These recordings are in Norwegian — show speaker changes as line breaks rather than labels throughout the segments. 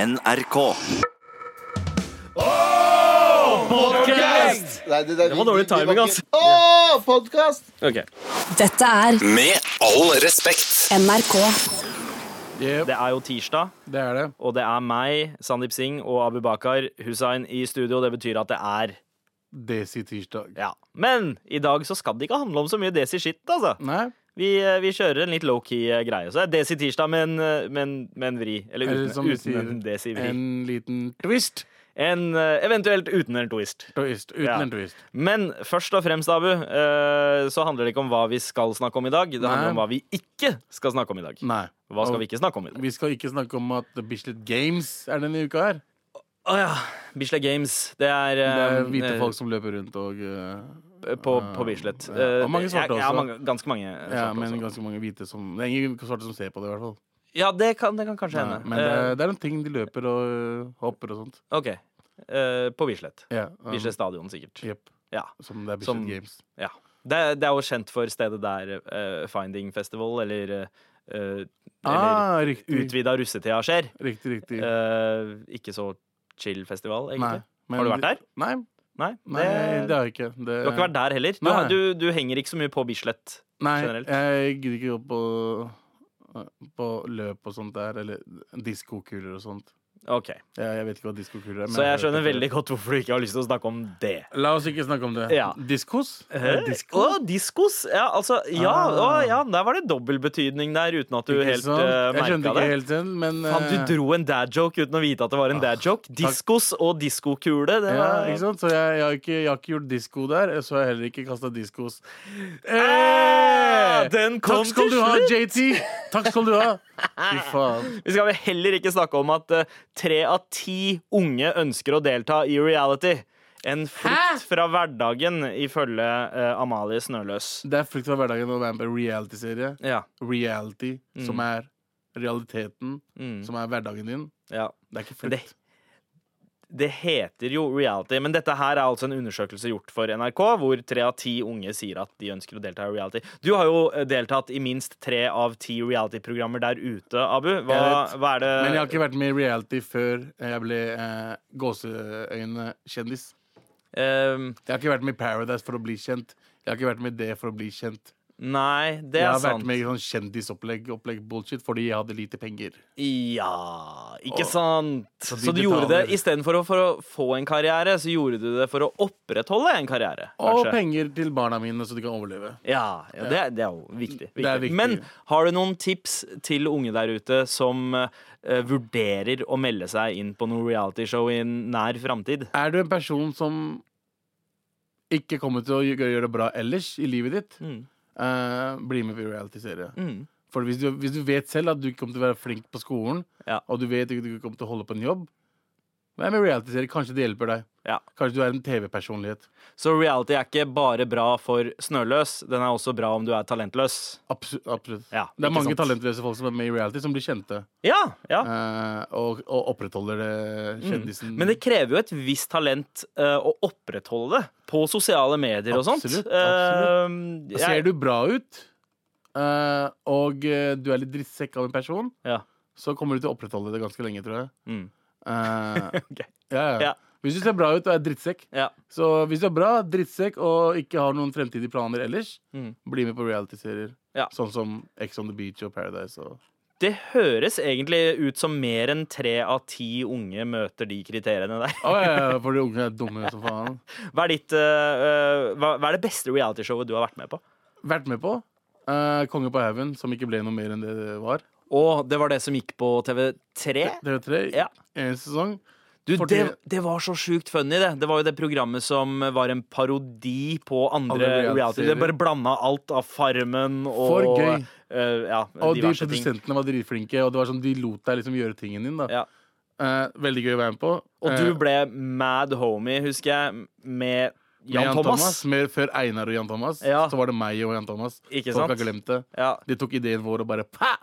NRK.
Nei, det, det,
var dårlig timing, ass.
Åh, podcast!
Ok.
Dette er
Med all respekt.
NRK.
Yep,
Det er jo tirsdag,
det er det.
og det er meg, Sandeep Singh og Abubakar Hussain i studio. Det betyr at det er
Desi tirsdag.
Ja. Men i dag så skal det ikke handle om så mye desi-shit, altså.
Nei,
Vi, eh, vi kjører en litt low-key eh, greie. Så det er desi-tirsdag med, en, eh, med, en- med en vri. Eller
eller
uten,
som vi
uten
sier,
en desi-vri. En,
en liten twist.
eh, eventuelt uten en twist.
Twist, Uten
Ja.
en twist.
Men først og fremst, Abu, eh, så handler det ikke om hva vi skal snakke om i dag. Det handler
Nei.
om hva vi ikke skal snakke om i dag.
Nei.
Hva skal
Og
vi ikke snakke om i dag?
Vi skal ikke snakke om at Bislett Games er denne uka her.
Å ja. Bislett Games. Det er,
Det
eh,
er hvite
eh,
folk som løper rundt og eh,
På, på Bislett. Eh,
Ja, og mange svarte
ja, Ja,
også.
mange, ganske mange svarte
Ja, men
også.
ganske mange hvite som Det er ingen svarte som ser på det, i hvert fall.
Ja, det kan, det kan kanskje
Nei,
hende.
men det er, det er en ting de løper og eh, hopper og sånt.
Eh, OK. Eh, på Bislett.
Ja, um,
Bislett stadion, sikkert.
Jep.
Ja.
Som det er Bislett
Som-
Games.
ja. Det, er- det er jo kjent for stedet der eh, Finding Festival, eller eh, eh, Eller
Ah, riktig.
utvida russetida skjer.
Riktig, riktig.
Eh, ikke så chill festival, egentlig.
men
Har du vært
de-
der?
Nei,
Nei,
nei det,
det,
har jeg ikke. Det,
Du har ikke vært der heller? Du,
Nei.
har- du, du henger ikke så mye på Bislett.
Nei,
generelt?
jeg gidder ikke gå på, på løp og sånt der, eller diskokuler og sånt.
OK.
Jeg, jeg vet ikke hva diskokuler er. men
Så jeg
har hørt
skjønner
om
veldig godt hvorfor du ikke har lyst til å snakke om det.
det. La oss ikke snakke om det.
Ja.
Eh, Diskos?
Disko? Å, diskos! Ja, altså, ja, å,
Ah.
ja, der var det dobbeltbetydning der uten at du
Ikke
helt
sant?
uh,
Jeg
merka
skjønte ikke
det.
helt selv, men
Faen,
eh, Ah,
du dro en dad-joke uten å vite at det var en dad-joke. Diskos og diskokule. Det
ja,
var
ikke sant? Så jeg, jeg, har ikke, jeg har ikke gjort disko der, så har jeg heller ikke kasta diskos.
Eh,
Eh,
Den kom
Takk skal
til
du ha,
slutt!
JT! Takk skal du ha! Fy faen.
Vi skal vel heller ikke snakke om at eh, tre av ti unge ønsker å delta i reality. En flukt fra hverdagen, ifølge eh, Amalie Snøløs.
Det er flukt fra hverdagen å være med på en reality-serie.
Ja.
Reality, som er realiteten,
Mm.
som er hverdagen din.
ja.
Det er ikke
Men
flukt.
det heter jo reality, men dette her er altså en undersøkelse gjort for NRK, hvor tre av ti unge sier at de ønsker å delta i reality. Du har jo eh, deltatt i minst tre av ti reality-programmer der ute, Abu. Hva,
Jeg vet.
hva er det
Men jeg har ikke vært med i reality før jeg ble eh, gåseøyne-kjendis.
Ehm,
Jeg har ikke vært med i Paradise for å bli kjent. Jeg har ikke vært med i det for å bli kjent.
Nei, det
Jeg
er
har
sant.
vært med i sånn kjendisopplegg opplegg bullshit fordi jeg hadde lite penger.
Ja Ikke
Og-
sant? Så,
de
du gjorde det
betaler.
istedenfor å, for å få en karriere, så gjorde du det for å opprettholde en karriere.
Og
kanskje.
penger til barna mine, så de kan overleve.
Ja, ja det, er, det er jo viktig, viktig.
Det er viktig.
Men har du noen tips til unge der ute som eh, vurderer å melde seg inn på noe realityshow i nær framtid?
Er du en person som ikke kommer til å gjø- gjøre det bra ellers i livet ditt,
Mm.
eh, bli med i reality-serie.
Mm.
For hvis du, hvis du vet selv at du ikke kommer til å være flink på skolen,
Ja.
og du vet ikke at du ikke kommer til å holde på en jobb, vær med i reality-serie. Kanskje det hjelper deg.
Ja.
Kanskje du er en TV-personlighet.
Så reality er ikke bare bra for snøløs, den er også bra om du er talentløs.
Absu absolutt.
Ja,
det er
ikke
mange
sant?
talentløse folk som er med i reality, som blir kjente.
Ja, ja.
eh, og, og opprettholder det kjendisen.
Mm. Men det krever jo et visst talent eh, å opprettholde det på sosiale medier og sånt. Eh,
Absolutt,
absolutt.
Ser du bra ut, eh, og eh, du er litt drittsekk av en person,
Ja.
så kommer du til å opprettholde det ganske lenge, tror jeg.
Mm.
Eh,
Ok.
ja, ja.
Ja.
Hvis du ser bra ut og er drittsekk,
Ja.
så hvis du er bra, drittsekk og ikke har noen fremtidige planer ellers,
Mm.
bli med på reality-serier.
Ja.
Sånn som Ex on the Beach og Paradise. Og...
Det høres egentlig ut som mer enn tre av ti unge møter de kriteriene der.
Å, ja, ja, for de unge er dumme som faen.
Hva er, ditt, eh, eh, hva, hva er det beste realityshowet du har vært med på?
Vært med på eh, Konge på haugen, som ikke ble noe mer enn det det var.
Og det var det som gikk på TV3.
TV3,
Ja.
en sesong.
Du,
Fordi-
det, det var så sjukt funny, det. Det var jo det programmet som var en parodi på andre
Alle
reality.
reality-serier.
Det bare blanda alt av Farmen og
For gøy.
eh, ja,
Og de
diverse ting.
produsentene var dritflinke, og det var sånn, de lot deg liksom gjøre tingen din. da
Ja.
Eh, Veldig gøy å være med på.
Og
Eh,
du ble mad homie, husker jeg, med
med
Jan Thomas.
med, før Einar og Jan Thomas,
Ja.
så var det meg og Jan Thomas.
Ikke
Folk
sant?
har glemt det.
Ja.
De tok ideen vår og bare pa!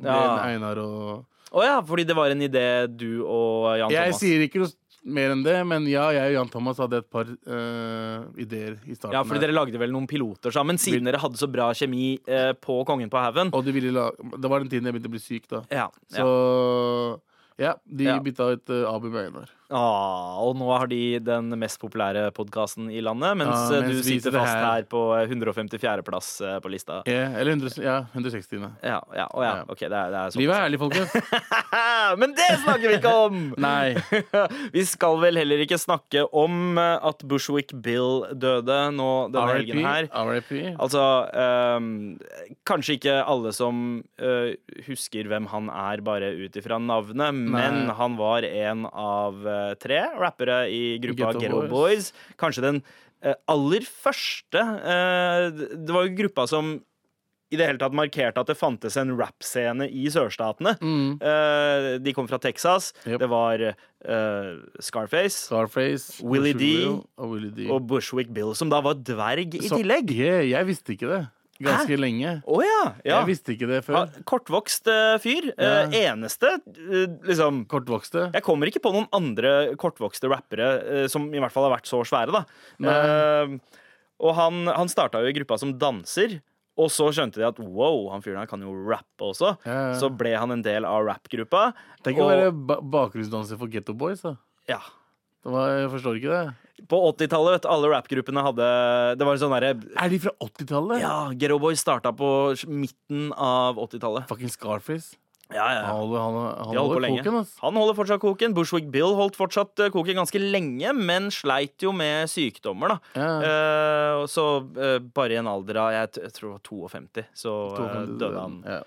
Ble
Ja.
en Einar og
Å ja, fordi det var en idé du og Jan
Jeg
Thomas
sier ikke noe s- mer enn det, men ja, jeg og Jan Thomas hadde et par eh, ideer i starten.
Ja, fordi
her.
dere lagde vel noen piloter sammen, siden dere hadde så bra kjemi eh, på Kongen på haugen.
Og de ville la... Det var den tiden jeg begynte å bli syk, da.
Ja,
Så
ja.
Ja, de
Ja.
bytta ut eh, Abu med Einar.
Ah, og nå har de den mest populære podkasten i landet, mens,
Ah,
eh,
mens
du
vi
sitter
sitter
fast
her.
her på eh, 154.-plass eh, på lista.
Ja, Eh, eller 100, ja, 160.
Ja, ja, å ja.
Ja.
OK, det er, det er sånn.
Livet er ærlig, folkens.
Men det snakker vi ikke om!
Nei.
vi skal vel heller ikke snakke om eh, at Bushwick Bill døde nå denne helgen her.
RIP.
Altså ehm, Kanskje ikke alle som eh, husker hvem han er, bare ut ifra navnet, men
Nei.
han var en av eh, tre rappere i gruppa
Ghetto
Ghetto Boys.
Boys.
Kanskje den eh, aller første eh, Det var jo gruppa som i det hele tatt markerte at det fantes en rappscene i sørstatene.
Mm.
Eh, de kom fra Texas.
Yep.
Det var eh, Scarface
Scarface,
Willy
Bushwick
D.
Bill og Willy D.
og Bushwick Bill, som da var dverg i
Så-
tillegg.
Yeah, jeg visste ikke det. Ganske lenge.
Å ja! ja.
Jeg visste ikke det før.
Ja, kortvokst eh, fyr. Eh, eneste eh, liksom
Kortvokste.
Jeg kommer ikke på noen andre kortvokste rappere eh, som i hvert fall har vært så svære, da.
Nei.
Eh, og han, han starta jo i gruppa som danser. Og så skjønte de at wow, han fyren her kan jo rappe også.
Ja, ja.
Så ble han en del av rappgruppa.
Tenk å være ba bakgrunnsdanser for Getto Boys, da.
ja.
Det var, jeg forstår ikke det.
På 80-tallet, vet du, alle rappgruppene hadde Det var sånn derre
Er de fra 80-tallet?
Ja, Ghetto Boys starta på midten av 80-tallet.
Fucking Scarface.
Ja, ja, ja.
Han holder, han,
De
han
holdt på
holder
lenge.
koken, ass.
Han holder fortsatt koken. Bushwick Bill holdt fortsatt eh, koken ganske lenge, men sleit jo med sykdommer, da.
Ja.
Eh, og så eh, bare i en alder av jeg, t jeg tror det var 52, så eh,
52,
døde han.
Ja.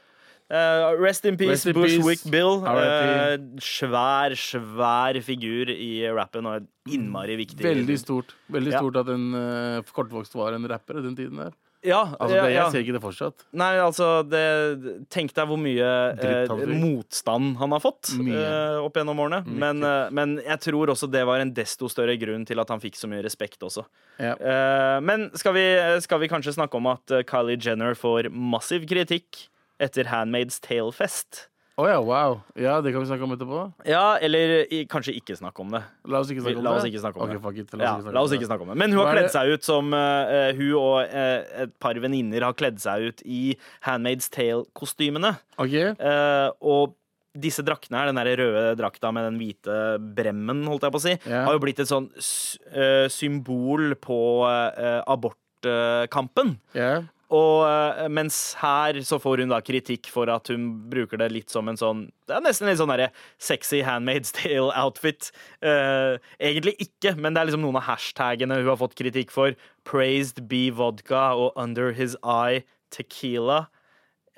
Eh, rest in peace,
Rest in
Bushwick
peace.
Bill. Eh,
R.I.P..
svær, svær figur i rappen, og en innmari viktig.
Veldig stort Veldig
Ja.
stort at en eh, kortvokst var en rapper i den tiden der.
Ja,
Altså,
ja,
det,
ja.
Jeg ser ikke det fortsatt.
Nei, altså det, Tenk deg hvor mye eh,
Dritt han fikk.
motstand han har fått
Mye.
eh, opp gjennom årene. Men, eh, men jeg tror også det var en desto større grunn til at han fikk så mye respekt også.
Ja.
Eh, men skal vi, skal vi kanskje snakke om at eh, Kylie Jenner får massiv kritikk etter Handmaid's Tale-fest?
Å ja, wow. Ja, det kan vi snakke om etterpå.
Ja, eller i, kanskje ikke snakke om det.
La oss ikke snakke om
La
det.
oss ikke snakke om
Ok,
det.
fuck it.
Ja, la oss ikke snakke om det. Men hun har
Hva er
kledd
det-
seg ut som eh, eh, Hun og eh, et par venninner har kledd seg ut i Handmaid's Tale-kostymene.
Ok.
Eh, og disse draktene her, den der røde drakta med den hvite bremmen, holdt jeg på å si,
Ja.
har jo blitt et sånn s- eh, symbol på eh, abortkampen.
Ja.
Og eh, mens her så får hun da kritikk for at hun bruker det litt som en sånn Det er nesten litt sånn derre sexy handmaid's tale-outfit. egentlig ikke, men det er liksom noen av hashtagene hun har fått kritikk for. Praised be vodka og under his eye tequila.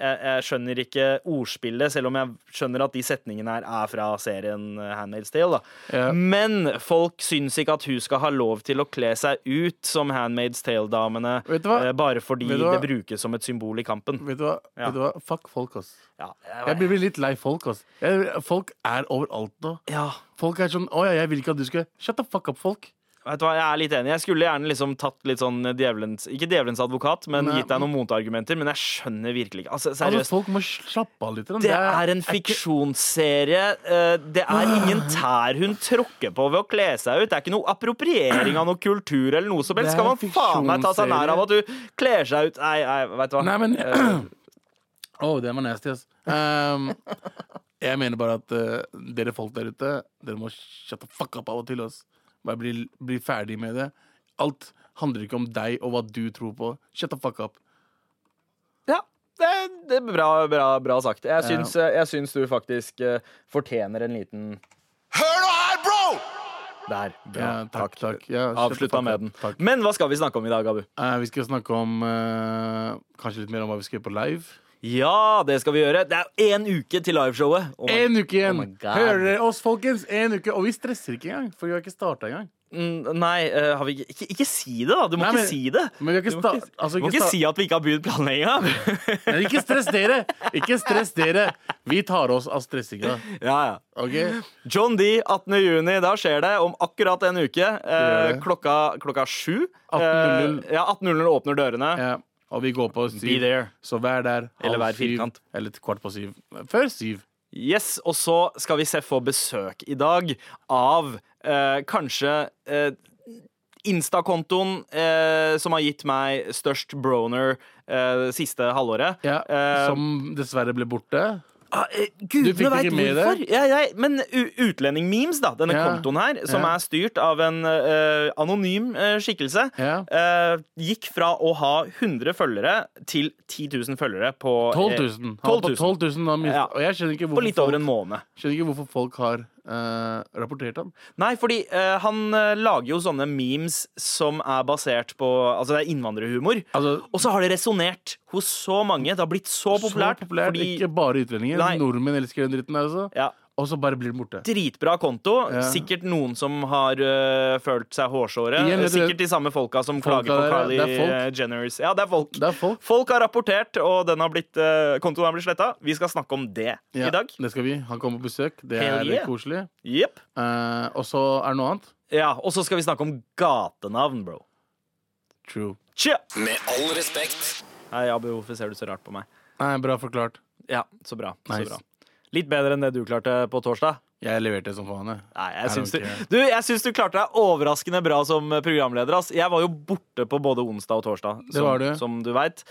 Jeg, jeg skjønner ikke ordspillet, selv om jeg skjønner at de setningene her er fra serien eh, Handmaid's Tale. Da.
Ja.
Men folk syns ikke at hun skal ha lov til å kle seg ut som Handmaid's Tale-damene
Vet du hva?
eh, bare fordi
Vet du hva?
det brukes som et symbol i kampen.
Vet du hva?
Ja.
Vet du hva? Fuck folk, ass.
Ja,
Jeg blir litt lei folk, ass. Jeg, folk er overalt nå.
ja,
Folk er sånn Å ja, jeg vil ikke at du skal Shut the fuck up, folk.
vet du hva, jeg er litt enig. Jeg skulle gjerne liksom tatt litt sånn djevelens Ikke djevelens advokat, men
Nei,
gitt deg noen motargumenter, men jeg skjønner virkelig ikke. Altså,
Altså,
seriøst.
folk må slappe av litt. grann.
Det er en
ikke- Ah.
fiksjonsserie. eh, Det er ingen tær hun tråkker på ved å kle seg ut. Det er ikke noe appropriering av noe kultur eller noe som helst.
Det er
Skal man
en
faen meg ta seg nær av at du kler seg ut Nei, nei, vet du hva. Eh,
Nei, men Å, det var nasty, ass. Ehm, jeg mener bare at eh, dere folk der ute, dere må shut the fuck up av og til, ass. Bare bli, bli ferdig med det. Alt handler ikke om deg og hva du tror på. Shut the fuck up.
Ja, det, det er bra, bra, bra sagt. Jeg syns, eh, jeg syns du faktisk eh, fortjener en liten
Hør nå her, bro!
Der. Bra.
Ja, takk, Eh, takk. Ja, shut the
Avslutta
fuck
med
up.
den.
Takk.
Men hva skal vi snakke om i dag, Abu?
Eh, vi skal snakke om eh, kanskje litt mer om hva vi skal gjøre på live.
Ja, det skal vi gjøre. Det er én uke til liveshowet. Oh my-
En uke igjen!
my God.
Hører dere oss, folkens? En uke, Og vi stresser ikke engang, for vi har ikke starta engang.
Mm, Nei, eh, har vi ikke, ikke Ikke si det, da! Du må
Nei,
ikke
men-
si det.
Men vi har ikke
Du må
sta-
ikke,
altså,
du må
ikke
ikke
sta-
si at vi ikke har begynt planlegginga.
Men ikke stress dere! Ikke stress dere! Vi tar oss av stressinga.
ja, ja.
OK?
John D. 18. juni. Da skjer det om akkurat en uke. Eh,
Det gjør det.
klokka, klokka sju.
18.00.
Eh, ja, 18.00 åpner dørene.
Ja. Eh, Og vi går på
Be
syv.
there.
Så vær der.
Eller
halv
vær
syv,
firkant.
Eller kvart på syv. Før syv.
Yes, og så skal vi se få besøk i dag av eh, kanskje eh, Insta-kontoen eh, som har gitt meg størst broner eh, det siste halvåret.
Ja.
Eh,
Som dessverre ble borte.
Ah, eh,
Du fikk
Gudene veit
ikke med deg?
hvorfor! Ja, jeg, men u- utlendingmemes, da, denne
Ja.
kontoen her, som
Ja.
er styrt av en eh, anonym eh, skikkelse,
Ja.
eh, gikk fra å ha 100 følgere til 10 000 følgere på
12
eh,
000. Han var på 12 000 da han mist-
Ja.
Og jeg skjønner ikke
på
hvorfor,
litt over en
folk,
måned.
skjønner ikke hvorfor folk har eh, rapportert ham.
Nei, fordi eh, han eh, lager jo sånne memes som er basert på Altså, det er innvandrerhumor.
Altså-
og så har det resonnert hos så mange. Det har blitt så populært.
så populært
fordi
Ikke bare utlendinger.
Nei.
Nordmenn elsker den dritten der også.
Ja.
Og så bare blir den borte.
Dritbra konto.
Ja.
Sikkert noen som har øh, følt seg hårsåre.
Igjen, vet du-
Sikkert de samme folka som
Folka
klager på
der,
Kylie
det er folk.
eh, Jenners. Ja, det er folk.
Det er folk.
har rapportert, og den har blitt, øh, kontoen har blitt sletta. Vi skal snakke om det
Ja,
i dag.
Det skal vi. Han kommer på besøk. Det
Hell
er
yeah.
koselig.
Jepp.
Eh, og så er det noe annet.
Ja, og så skal vi snakke om gatenavn, bro.
True.
Tja!
Med all respekt.
Hei, Abu, hvorfor ser du så rart på meg?
Nei, bra forklart.
Ja, så bra.
Nice.
Så bra. Litt bedre enn det du klarte på torsdag.
Jeg leverte som faen, jeg.
Nei, jeg
I
syns, du,
don't care.
du, jeg syns du klarte deg overraskende bra som eh, programleder. Ass. Jeg var jo borte på både onsdag og torsdag,
Det
som,
var du.
som du veit.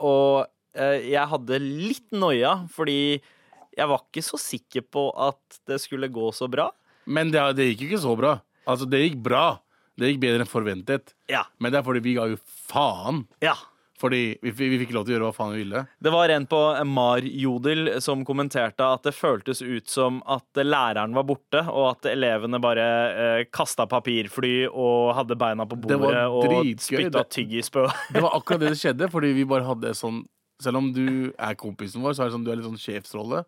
og eh, jeg hadde litt noia, fordi jeg var ikke så sikker på at det skulle gå så bra.
Men det, det gikk jo ikke så bra. Altså, det gikk bra. Det gikk bedre enn forventet.
Ja.
Men det er fordi vi ga jo faen.
ja.
Fordi vi, vi, vi fikk lov til å gjøre hva faen vi ville.
Det var en på Mar-Jodel som kommenterte at det føltes ut som at læreren var borte, og at elevene bare eh, kasta papirfly og hadde beina på
Det var
bordet og
dritgøy,
spytta
det.
tyggis på
Det var akkurat det som skjedde, fordi vi bare hadde sånn Selv om du er kompisen vår, så er det sånn du er litt sånn sjefsrolle.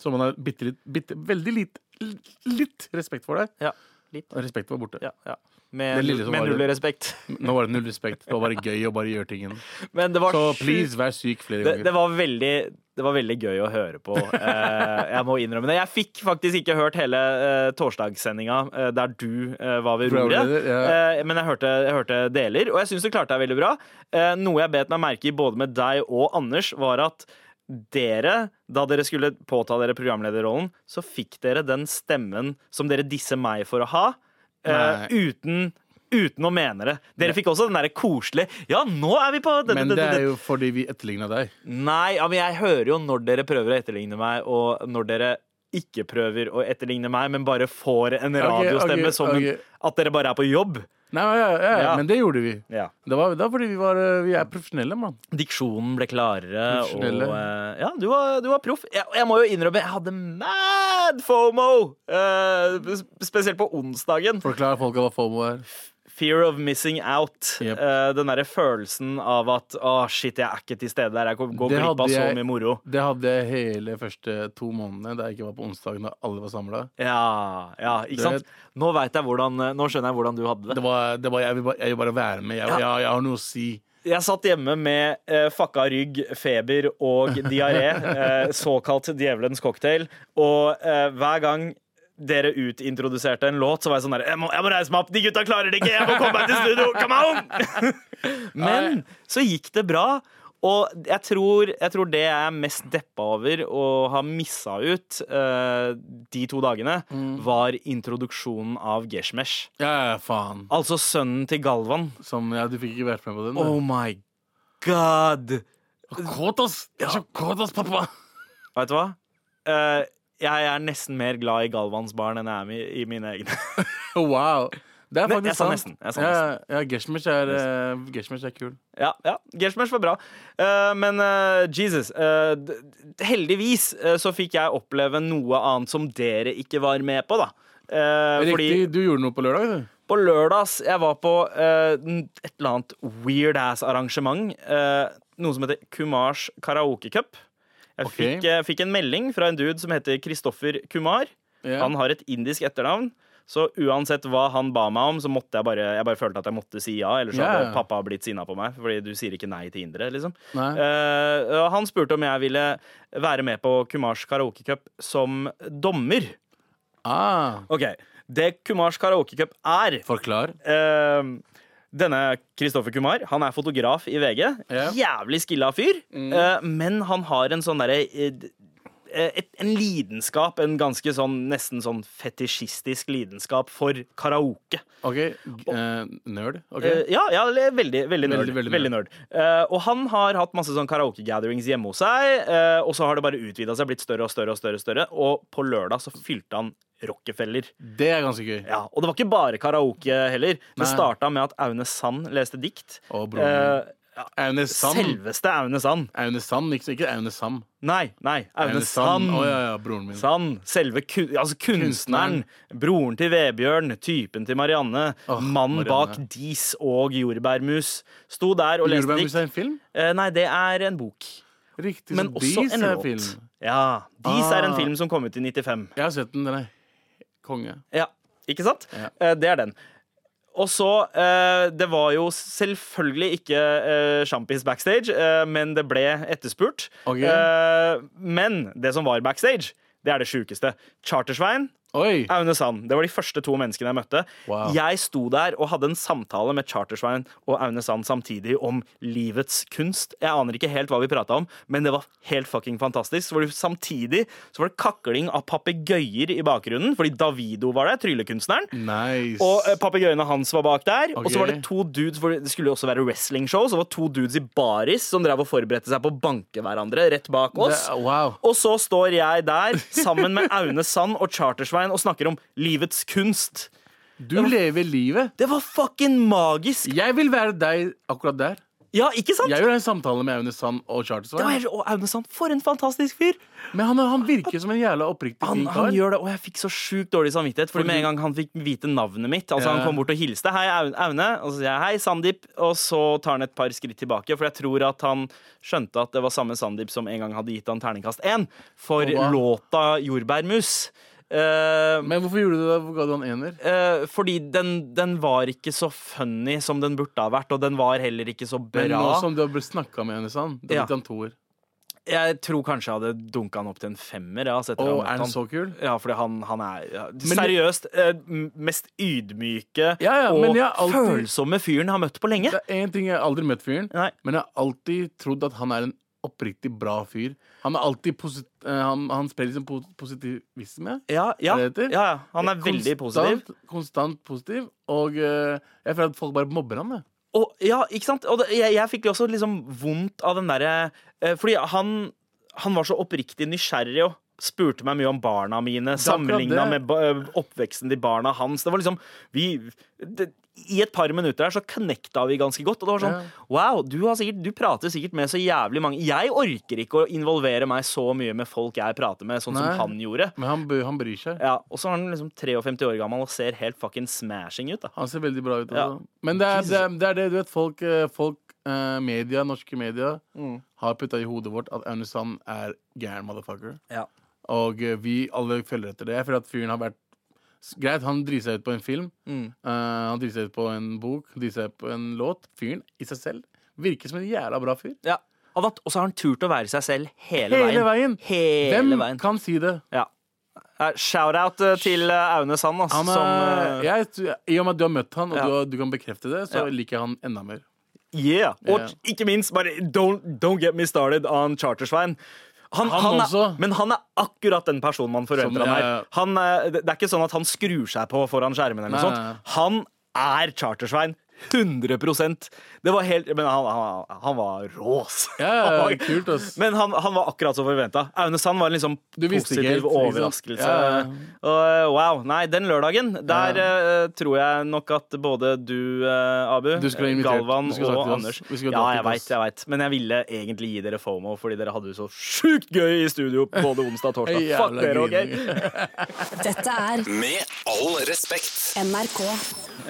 Så man har bitte litt bitte, Veldig litt, litt, litt respekt for deg.
Ja, litt.
Og Respekt var borte.
Ja, ja. Med,
Det lille som
med
var
null
det.
respekt.
Nå var det null respekt. Det var bare gøy å bare gjøre tingen.
Men det var
Så
sjukt-
please, vær syk flere
det,
ganger.
det, var veldig, det var veldig gøy å høre på. Eh, jeg må innrømme det. Jeg fikk faktisk ikke hørt hele uh, torsdagssendinga eh, der du eh, var ved roret.
Programleder, ja.
Eh, men jeg hørte, jeg hørte deler, og jeg syns du klarte deg veldig bra. Eh, noe jeg bet meg merke i både med deg og Anders, var at dere, da dere skulle påta dere programlederrollen, så fikk dere den stemmen som dere disser meg for å ha, eh,
Nei.
uten Uten å mene det. Dere fikk også den derre koselige Ja, nå er vi på
Men det er jo fordi vi etterligna deg.
Nei, ja, men jeg hører jo når dere prøver å etterligne meg, og når dere ikke prøver å etterligne meg, men bare får en radiostemme
ok,
som
ok.
at dere bare er på jobb.
Nei, ja, ja, ja,
Ja.
Men det gjorde vi.
Ja.
Det var, det var fordi vi, var, eh, vi er profesjonelle, mann.
Diksjonen ble klarere. Og,
Profesjonelle.
eh, ja, du var, du var proff. Jeg, jeg må jo innrømme, jeg hadde mad fomo! eh, sp- spesielt på onsdagen.
Forklar folka hva FOMO er.
Fear of missing out.
Yep.
Eh, den derre følelsen av at å, shit, jeg er ikke til stede der. Jeg går går
Det
glipp
hadde
av så
jeg-
mye moro.
Det hadde jeg hele første to månedene da jeg ikke var på onsdagen, da alle var samla.
Ja, ja, ikke
Du
sant?
vet-
Nå, vet jeg hvordan, eh, nå skjønner jeg hvordan du hadde det.
Det var, det var, jeg, vil bare, jeg vil bare være med. Jeg, jeg, jeg har noe å si.
Jeg satt hjemme med eh, fucka rygg, feber og diaré. Eh, såkalt djevelens cocktail. Og eh, hver gang dere utintroduserte en låt, så var jeg sånn der jeg må, jeg må reise meg opp! De gutta klarer det ikke! Jeg må komme meg til studio! Come on! Men så gikk det bra. Og jeg tror, jeg tror det jeg er mest deppa over og har missa ut eh, de to dagene, var introduksjonen av Geshmesh.
Ja, ja, faen.
Altså sønnen til Galvan.
Som, ja, du fikk ikke vært med på den.
Oh my god!
du. Kåt, ass! Jeg er så kåt, ass, pappa!
Vet du hva? Eh, jeg er nesten mer glad i Galvans barn enn jeg er i, i mine egne.
Wow. Det er
Men
faktisk
jeg sa
sant.
nesten, jeg sa
Ja, ja Geshmesh er, eh, Geshmesh er kul.
ja, ja, Gershmers var bra. Eh, men eh, Jesus eh, d- d- Heldigvis eh, så fikk jeg oppleve noe annet som dere ikke var med på, da. Eh, fordi
Riktig, du gjorde noe på lørdag, du.
på lørdags Jeg var på eh, n- et eller annet weird ass arrangement. eh, noe som heter Kumars karaoke cup. Jeg
Ok.
fikk, eh, fikk en melding fra en dude som heter Kristoffer Kumar.
Ja.
Han har et indisk etternavn. Så uansett hva han ba meg om, så måtte jeg bare Jeg bare følte at jeg måtte si ja. Ellers så
Ja,
hadde
ja.
pappa blitt sinna på meg, fordi du sier ikke nei til indere, liksom.
Nei.
Eh, og han spurte om jeg ville være med på Kumars karaokecup som dommer.
Ah,
OK. Det Kumars karaokecup er
forklar.
Eh, denne Kristoffer Kumar han er fotograf i VG.
Ja.
Mm. Jævlig skilla fyr. eh, men han har en sånn derre eh, eh, et, en lidenskap, en ganske sånn nesten sånn fetisjistisk lidenskap for karaoke.
OK, eh, nerd. ok
Eh, ja, ja, eller veldig, veldig nerd.
Veldig,
Veldig,
veldig
nerd. Eh, og han har hatt masse sånn karaoke-gatherings hjemme hos seg, eh, og så har det bare utvida seg, blitt større og større og større. Og større Og på lørdag så fylte han Rockefeller.
Det er ganske gøy.
Ja, Og det var ikke bare karaoke heller.
Nei.
Det starta med at Aune Sand leste dikt.
Å, broren
Eh, ja,
Aune Sand.
Selveste Aune Sand.
Aune Sand, ikke, ikke Aune Sam.
Nei, nei, Aune
Aune Sand.
Sand.
Å ja, ja, broren min.
Sand, selve kun, altså kunstneren, broren til Vebjørn, typen til Marianne,
Åh,
mannen bak
Marianne.
Dis og Jordbærmus, sto der og leste
Jordbærmus
dikt.
er en film?
Eh, Nei, det er en bok.
Riktig.
Men
så
også
Dis
en
er
låt.
film.
Ja, Dis er en
Ah.
film som kom ut i 95.
Jeg har sett den. Den er konge.
Ja, ikke sant?
Ja.
Eh, Det er den. Og så eh, Det var jo selvfølgelig ikke eh, sjampis backstage, eh, men det ble etterspurt.
Ok.
Eh, men det som var backstage, det er det sjukeste. Chartersvein
Oi!
Aune Sand. Det var de første to menneskene jeg møtte.
Wow.
Jeg sto der og hadde en samtale med Chartersvein og Aune Sand samtidig om livets kunst. Jeg aner ikke helt hva vi prata om, men det var helt fucking fantastisk. Så var det samtidig så var det kakling av papegøyer i bakgrunnen, fordi Davido var der, tryllekunstneren.
Nice.
Og eh, papegøyene hans var bak der. Og
Ok.
så var det to dudes for Det skulle jo også være wrestlingshow, så det var to dudes i baris som drev og forberedte seg på å banke hverandre rett bak oss.
Det- wow.
Og så står jeg der sammen med Aune Sand og Chartersvein og snakker om livets kunst.
Du lever livet.
Det var fucking magisk!
Jeg vil være deg akkurat der.
Ja, ikke sant?
Jeg vil ha en samtale med Aune Sand og
Det var
Chartersveien.
helt, og Aune Sand, for en fantastisk fyr!
Men han, han virker som en jævla oppriktig
Han,
fin
han
kar.
gjør det, Og jeg fikk så sjukt dårlig samvittighet, Fordi
Fordi-
med en gang han fikk vite navnet mitt Altså
Ja.
Han kom bort og hilste. 'Hei, Au- Aune.' Og så sier jeg 'Hei, Sandeep', og så tar han et par skritt tilbake. For jeg tror at han skjønte at det var samme Sandeep som en gang hadde gitt han terningkast én for
Og hva?
låta 'Jordbærmus'. Eh,
Men hvorfor gjorde du det? Hvorfor ga du han ener?
eh, fordi den, den var ikke så funny som den burde ha vært, og den var heller ikke så bra.
Men nå som du har snakka med Aune Sand, da
Ja.
fikk han toer.
Jeg tror kanskje jeg hadde dunka han opp til en femmer. Jeg, altså, etter
Å,
å ha møtt
er
han.
han så kul?
Ja, fordi han, han er ja, seriøst eh, m- mest ydmyke
Ja, ja, men
og
jeg har alltid-
følsomme fyren jeg har møtt på lenge.
Det er én ting jeg har aldri møtt fyren,
Nei.
men jeg har alltid trodd at han er en oppriktig bra fyr. Han er alltid posit eh, han, han sprer liksom po- positivisme.
Ja, ja,
Er det
ja,
det heter?
ja, han er veldig positiv.
Konstant, konstant positiv. Og eh, jeg føler at folk bare mobber han. jeg.
Og, ja, ikke sant? Og det, jeg, jeg fikk jo også liksom vondt av den derre eh, Fordi han, han var så oppriktig nysgjerrig og spurte meg mye om barna mine. Sammenligna
det.
med ba- eh, oppveksten til barna hans. Det var liksom vi, det, I et par minutter her så connecta vi ganske godt. Og det var sånn
Ja.
Wow, du, har sikkert, du prater sikkert med så jævlig mange Jeg orker ikke å involvere meg så mye med folk jeg prater med, sånn
Nei.
som han gjorde.
Men han, bø- han bryr seg.
Ja, Og så er han liksom 53 år gammel og ser helt fucking smashing ut. da
Han ser veldig bra ut.
Ja.
altså. Men det er, det, er, det er det, du vet. Folk, eh, folk eh, media, norske media
Mm.
har putta i hodet vårt at Aune Sand er gæren motherfucker.
Ja.
Og eh, vi alle følger etter det. Jeg føler at fyren har vært s- Greit, han driter seg ut på en film.
Mm.
eh, han driter seg ut på en bok, driter seg ut på en låt. Fyren i seg selv virker som en jævla bra fyr.
Ja. Og at- og så har han turt å være seg selv hele,
Hele
veien.
veien!
Hele
Hvem
veien.
kan si det?
Ja. Eh, Shout-out eh, til eh, Aune Sand, ass,
Han
som
er,
eh,
jeg, I og med at du har møtt han, og
Ja.
du, har- du kan bekrefte det, så
Ja.
liker jeg han enda mer.
Yeah! Og
Ja.
ikke minst, bare don't, don't get me started on Chartersvein. Han,
Han
han er,
også.
men han er akkurat den personen man forventer
Som-
han
ja, ja.
er. Han, eh, det det er ikke sånn at han skrur seg på foran skjermen. eller noe
Nei,
sånt.
nei, nei.
Han er Chartersvein. 100 Det var helt Men han, han, han var rå, ass.
Ja, ja, kult, ass.
Men han, han var akkurat som forventa. Aune Sand var en liksom
Du visste
positiv
ikke helt, ikke sant?
overraskelse.
Ja, ja.
Og, eh, wow. Nei, den lørdagen, der eh, tror jeg nok at både du, eh, Abu,
Du skulle ha invitert.
Galvan
Du
og
skulle ha sagt til oss.
Anders
Vi skulle ha
Ja, jeg
dratt til oss.
veit, jeg veit. Men jeg ville egentlig gi dere FOMO, fordi dere hadde det så sjukt gøy i studio både onsdag og torsdag.
Jævla
Fuck dere, OK?
grining.
Dette er
Med all respekt.
NRK.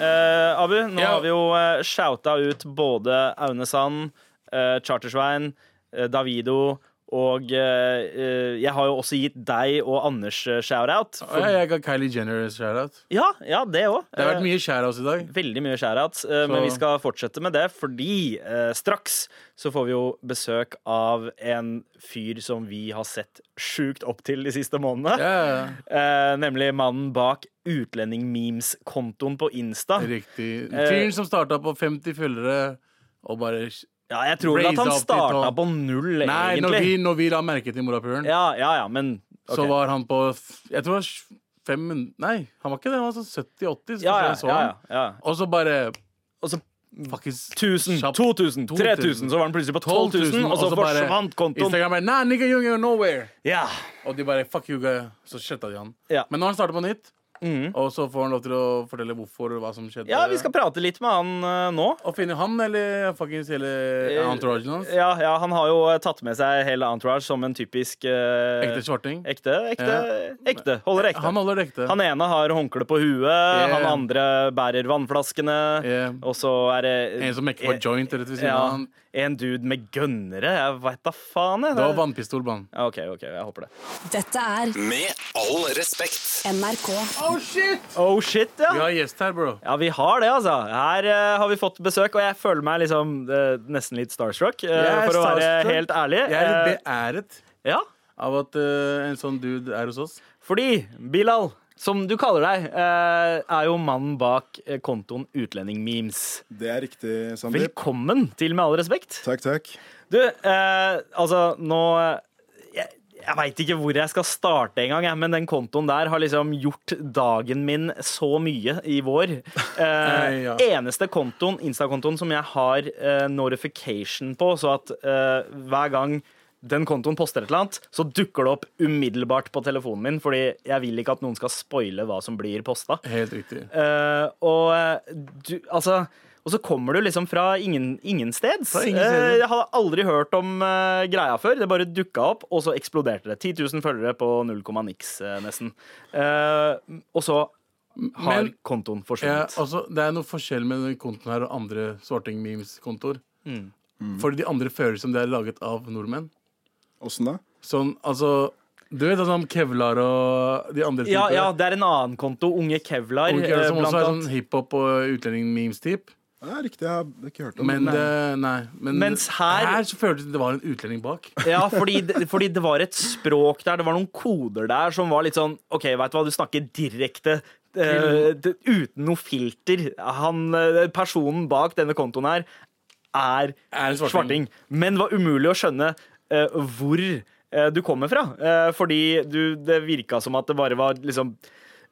Eh, Abu, nå
Ja.
har vi jo uh, shouta ut både Aune Sand, eh, Chartersvein, eh, Davido og eh, eh, Jeg har jo også gitt deg og Anders uh, shout-out.
Og
For,
jeg, jeg ga Kylie Jenner shout-out.
ja, ja, det òg.
Det har vært mye shout-outs i dag.
Veldig mye shoutouts, eh, men
Så-
vi skal fortsette med det, fordi eh, straks så får vi jo besøk av en fyr som vi har sett sjukt opp til de siste månedene.
Ja, ja, ja.
Eh, nemlig mannen bak utlendingmemes-kontoen på Insta.
Riktig. Fyren som starta på 50 følgere og bare
Ja, jeg tror vel at
Raise
han
up litt
starta
og-
på null,
Nei, når vi,
egentlig.
når vi la merke til morapuleren,
Ja, ja, ja, men ok.
så var han på f- Jeg tror det var sj- 500 Nei, han var ikke det. Han var sånn 70-80. så
ja,
først
ja,
jeg så
ja,
han.
ja, Mm. ja.
Og så bare
Og så
fuckings
1000,
kjapt.
2000, 3000,
2000,
så var han plutselig på 12 000, og så
bare-
forsvant kontoen.
Instagram bare Nah, nigga, you ain't going nowhere.
Ja.
Og de bare fuck you, guy. Så sletta de han.
Ja. Mm.
Men nå har han starta på nytt, og så får han lov til å fortelle hvorfor og hva som skjedde.
ja, vi skal prate litt med han eh, nå.
Og finne han eller fuckings hele entouragen hans.
Eh, Ja, ja, han har jo eh, tatt med seg hele entourage som en typisk eh,
Ekte svarting.
Ekte, ekte, ekte. Holder ekte.
Han holder det ekte.
Han ene har håndkle på huet, han andre bærer vannflaskene,
Yeah.
og så er det eh,
En som mekker på joint rett ved siden
Ja,
av han.
en dude med gønnere. Jeg veit da faen, jeg.
Det var vannpistol, mann.
Ja, OK, ok, jeg håper det.
Dette er
Med all respekt.
NRK.
Oh shit,
Vi
ja.
har gjest her, bro.
Ja, vi har det, altså. Her eh, har vi fått besøk, og jeg føler meg liksom eh, nesten litt starstruck, eh,
Jeg er
for å være
starstruck.
helt ærlig.
Jeg er
Eh,
litt beæret
ja,
av at eh, en sånn dude er hos oss.
Fordi Bilal, som du kaller deg, eh, er jo mannen bak eh, kontoen Utlendingmemes.
Det er riktig, Sandeep.
Velkommen til Med all respekt.
Takk, takk.
Du, eh, altså nå eh, Jeg, jeg veit ikke hvor jeg skal starte engang, jeg, men den kontoen der har liksom gjort dagen min så mye i vår. Eh,
Ja.
Eneste kontoen, Insta-kontoen som jeg har eh, notification på, så at eh, hver gang den kontoen poster et eller annet, så dukker det opp umiddelbart på telefonen min, fordi jeg vil ikke at noen skal spoile hva som blir posta.
Helt riktig.
Eh, og eh, du, altså og så kommer du liksom fra ingen, ingensteds.
Fra ingen
Eh,
steder.
jeg hadde aldri hørt om eh, greia før. Det bare dukka opp, og så eksploderte det. 10 000 følgere på null komma niks, eh, nesten. Eh, og så har
Men-
kontoen
Ja,
forsvunnet.
altså, det er noe forskjell med den kontoen her og andre Sorting Memes-kontoer.
Mm.
Fordi de andre føles som de er laget av nordmenn.
Åssen da?
Sånn, altså Du vet altså om Kevlar og de andre
Ja,
typer?
ja, det er en annen konto. Unge Kevlar,
Unge Kevlar
eh,
som
blant
også er sånn
annet.
hiphop- og utlending-memes-typ.
Det er riktig, jeg har ikke hørt om
Men,
det.
eh, nei, men
Mens her-
her så føltes det det var en utlending bak.
Ja, fordi, det- fordi det var et språk der, det var noen koder der som var litt sånn OK, veit du hva, du snakker direkte. eh, d- uten noe filter. Han, eh, personen bak denne kontoen her er,
Er en
svarting.
svarting.
Men det var umulig å skjønne eh, hvor eh, du kommer fra. Eh, fordi du, det virka som at det bare var liksom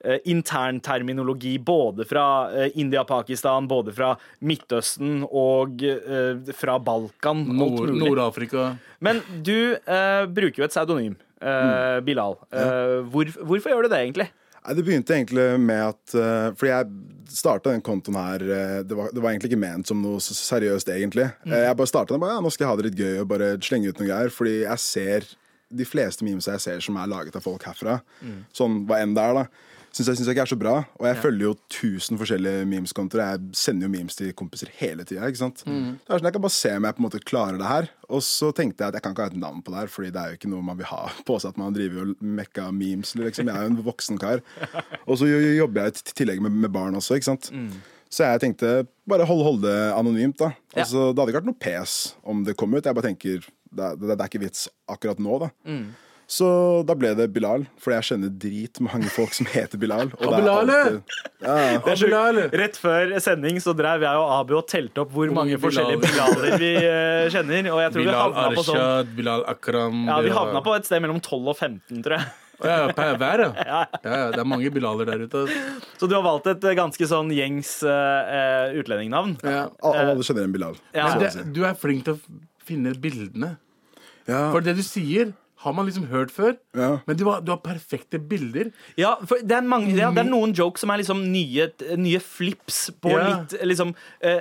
eh, intern terminologi både fra eh, India, Pakistan, både fra Midtøsten og eh, fra Balkan. alt
Nord-
mulig.
Nord-Afrika.
Men du eh, bruker jo et pseudonym, eh,
Mm.
Bilal. Eh, hvor, hvorfor gjør du det, egentlig?
Nei, det begynte egentlig med at eh, Fordi jeg starta den kontoen her eh, det, var, det var egentlig ikke ment som noe s- seriøst, egentlig.
Mm.
Eh, jeg bare starta den bare, ja, nå skal jeg ha det litt gøy og bare slenge ut noe greier. Fordi jeg ser de fleste memes jeg ser som er laget av folk herfra,
Mm.
sånn hva enn det er, da. Syns jeg, synes jeg ikke er så bra. Og jeg følger jo 1000 forskjellige memes-kontoer. Jeg sender jo memes til kompiser hele tida. ikke sant? Det er sånn, Jeg kan bare se om jeg på en måte klarer det her. Og så tenkte jeg at jeg kan ikke ha et navn på det her, Fordi det er jo ikke noe man vil ha på seg at man driver og mekka memes. liksom. Jeg er jo en voksen kar. Og så jo- jo jobber jeg i tillegg med, med barn også, ikke sant. Så jeg tenkte bare hold, hold det anonymt, da.
Ja.
Altså, det hadde ikke vært noe pes om det kom ut. Jeg bare tenker, det, er- det, er- det er ikke vits akkurat nå, da. Så da ble det Bilal, fordi jeg kjenner dritmange folk som heter Bilal. Og det er
Bilal, ja.
alltid- ja.
Det er sjukt.
Rett før sending så drev jeg og Abu og telte opp hvor, mange
mange
forskjellige bilaler vi eh, kjenner. Og jeg tror
Bilal
vi havna på sånn
Arshad, Bilal Akram
ja, vi
Bilal-
havna på et sted mellom 12 og 15, tror jeg.
Ja, ja, per hver, ja. ja. ja, Det er mange Bilaler der ute. ass.
Så du har valgt et eh, ganske sånn gjengs eh, eh, utlendingnavn.
Ja.
Al- Alle kjenner en Bilal.
Eh, Ja.
så å
Men
si.
det, du er flink til å f- finne bildene.
Ja.
For det du sier, har man liksom hørt før.
Ja.
Men du har, du har perfekte bilder.
Ja, for det er, mange, ja, det er noen jokes som er liksom nye, nye flips på
Mm. Ja.
litt liksom eh,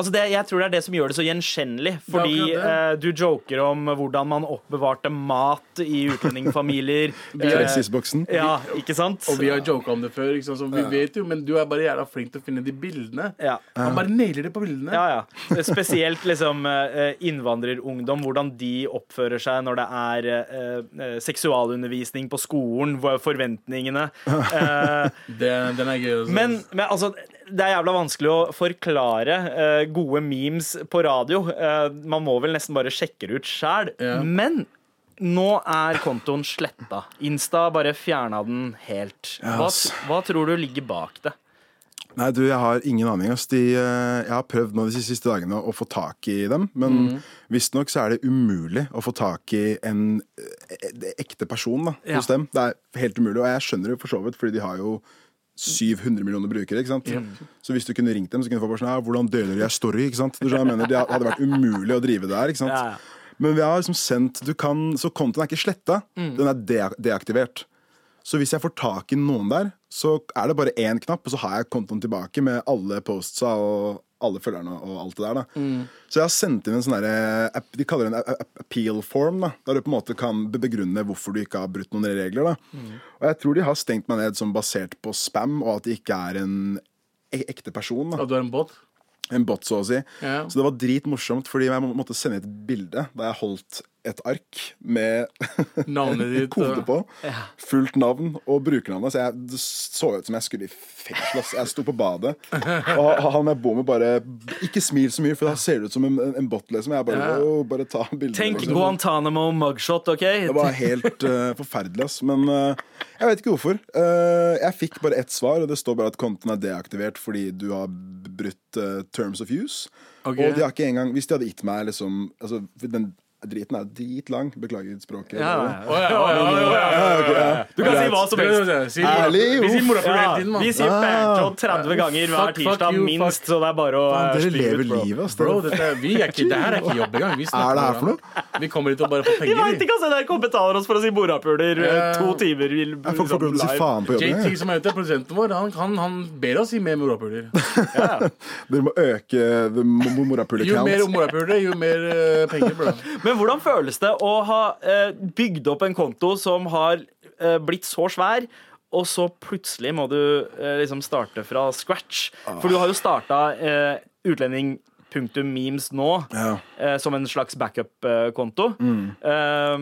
Altså det, jeg tror det er det som gjør det så gjenkjennelig. Fordi
Det er
eh,
akkurat
du joker om hvordan man oppbevarte mat i utlendingfamilier. eh,
Frelsesboksen.
ja, ikke sant?
Og vi har joka om det før, ikke sant? så vi vet jo, men du er bare jævla flink til å finne de bildene.
Ja.
Han bare nailer det på bildene.
Ja, ja. Spesielt liksom eh, innvandrerungdom, hvordan de oppfører seg når det er eh, eh, seksualundervisning på skolen, hvor forventningene eh,
Det, den er gøy. Også.
Men, men altså, det er jævla vanskelig å forklare eh, gode memes på radio. Eh, man må vel nesten bare sjekke det ut sjæl.
Ja.
Men nå er kontoen sletta. Insta bare fjerna den helt. Hva,
ass.
hva tror du ligger bak det?
Nei, du, jeg har ingen aning. Ass. De, eh, jeg har prøvd nå de siste, siste dagene å få tak i dem, men
Mm.
visstnok så er det umulig å få tak i en eh, e- ekte person da,
Ja.
hos dem. Det er helt umulig, og jeg skjønner det for så vidt, fordi de har jo 700 millioner brukere, ikke sant? Så hvis du kunne ringt dem, så kunne du få bare sånn, «Ja, hvordan deler jeg story, ikke sant? Du skjønner, hva jeg mener, det hadde vært umulig å drive der, ikke sant?
Ja, ja.
Men vi har liksom sendt du kan, Så kontoen er ikke sletta.
Mm.
Den er de deaktivert. Så hvis jeg får tak i noen der, så er det bare én knapp, og så har jeg kontoen tilbake med alle postsa og alle følgerne og alt det der. da. Så jeg har sendt inn en sånn derre app- De kaller det en a- a- appeal form, da, der du på en måte kan be- begrunne hvorfor du ikke har brutt noen regler. da. Og jeg tror de har stengt meg ned som basert på spam, og at det ikke er en e- ekte person. da.
At du er en båt?
En bot, så å si.
Ja.
Så det var dritmorsomt, fordi jeg må- måtte sende et bilde da jeg holdt et ark med
Navnet ditt
kode
og-
på. Fullt navn og brukernavnet. Så jeg det så ut som jeg skulle i fengsel. ass. Jeg sto på badet, og han jeg bor med, bare Ikke smil så mye, for da ser du ut som en, en bot, liksom. Jeg bare,
Ja.
«Åh, bare ta bildet.
Tenk
liksom.
Guantánamo mugshot, OK?
Det var helt eh, forferdelig, ass. Men eh, jeg vet ikke hvorfor. Eh, jeg fikk bare ett svar, og det står bare at konten er deaktivert fordi du har b- brutt eh, terms of use.
Ok.
Og de har ikke engang Hvis de hadde gitt meg liksom altså, for Den driten er dritlang. Beklager språket.
Ja, ja, ja.
Å ja, å ja, å ja, ja.
Ja, ok, ja.
Du kan si hva som helst.
Si mora-
Ærlig,
Vi sier
uff.
Ja,
morapuler hele tiden, mann.
vi sier
Ah.
backlog 30 ganger hver
Fuck, fuck
tirsdag
you,
minst, så det er bare å
Faen, Dere
slippe
lever
ut, bro.
livet, ass.
Bro, dette, er- vi er ikke, det her er ikke jobb engang. Vi snakker
Er det her for
bare om- Vi kommer hit og bare får
Vi
penger.
veit ikke altså, NRK betaler oss for å si morapuler eh, to timer vil,
Jeg får
liksom,
folk lov til å si
live.
faen på jobben.
JT
jeg.
som er ute, produsenten vår, han, han, han ber oss si mer morapuler.
Dere må øke the mo- mo-
Jo mer
morapuler-count.
morapulere, jo mer eh, penger, bro.
Men hvordan føles det å ha eh, bygd opp en konto som har eh, blitt så svær, og så plutselig må du eh, liksom starte fra scratch? For du har jo starta eh, utlending. Punktum memes nå,
Ja.
eh, som en slags backup-konto. Eh,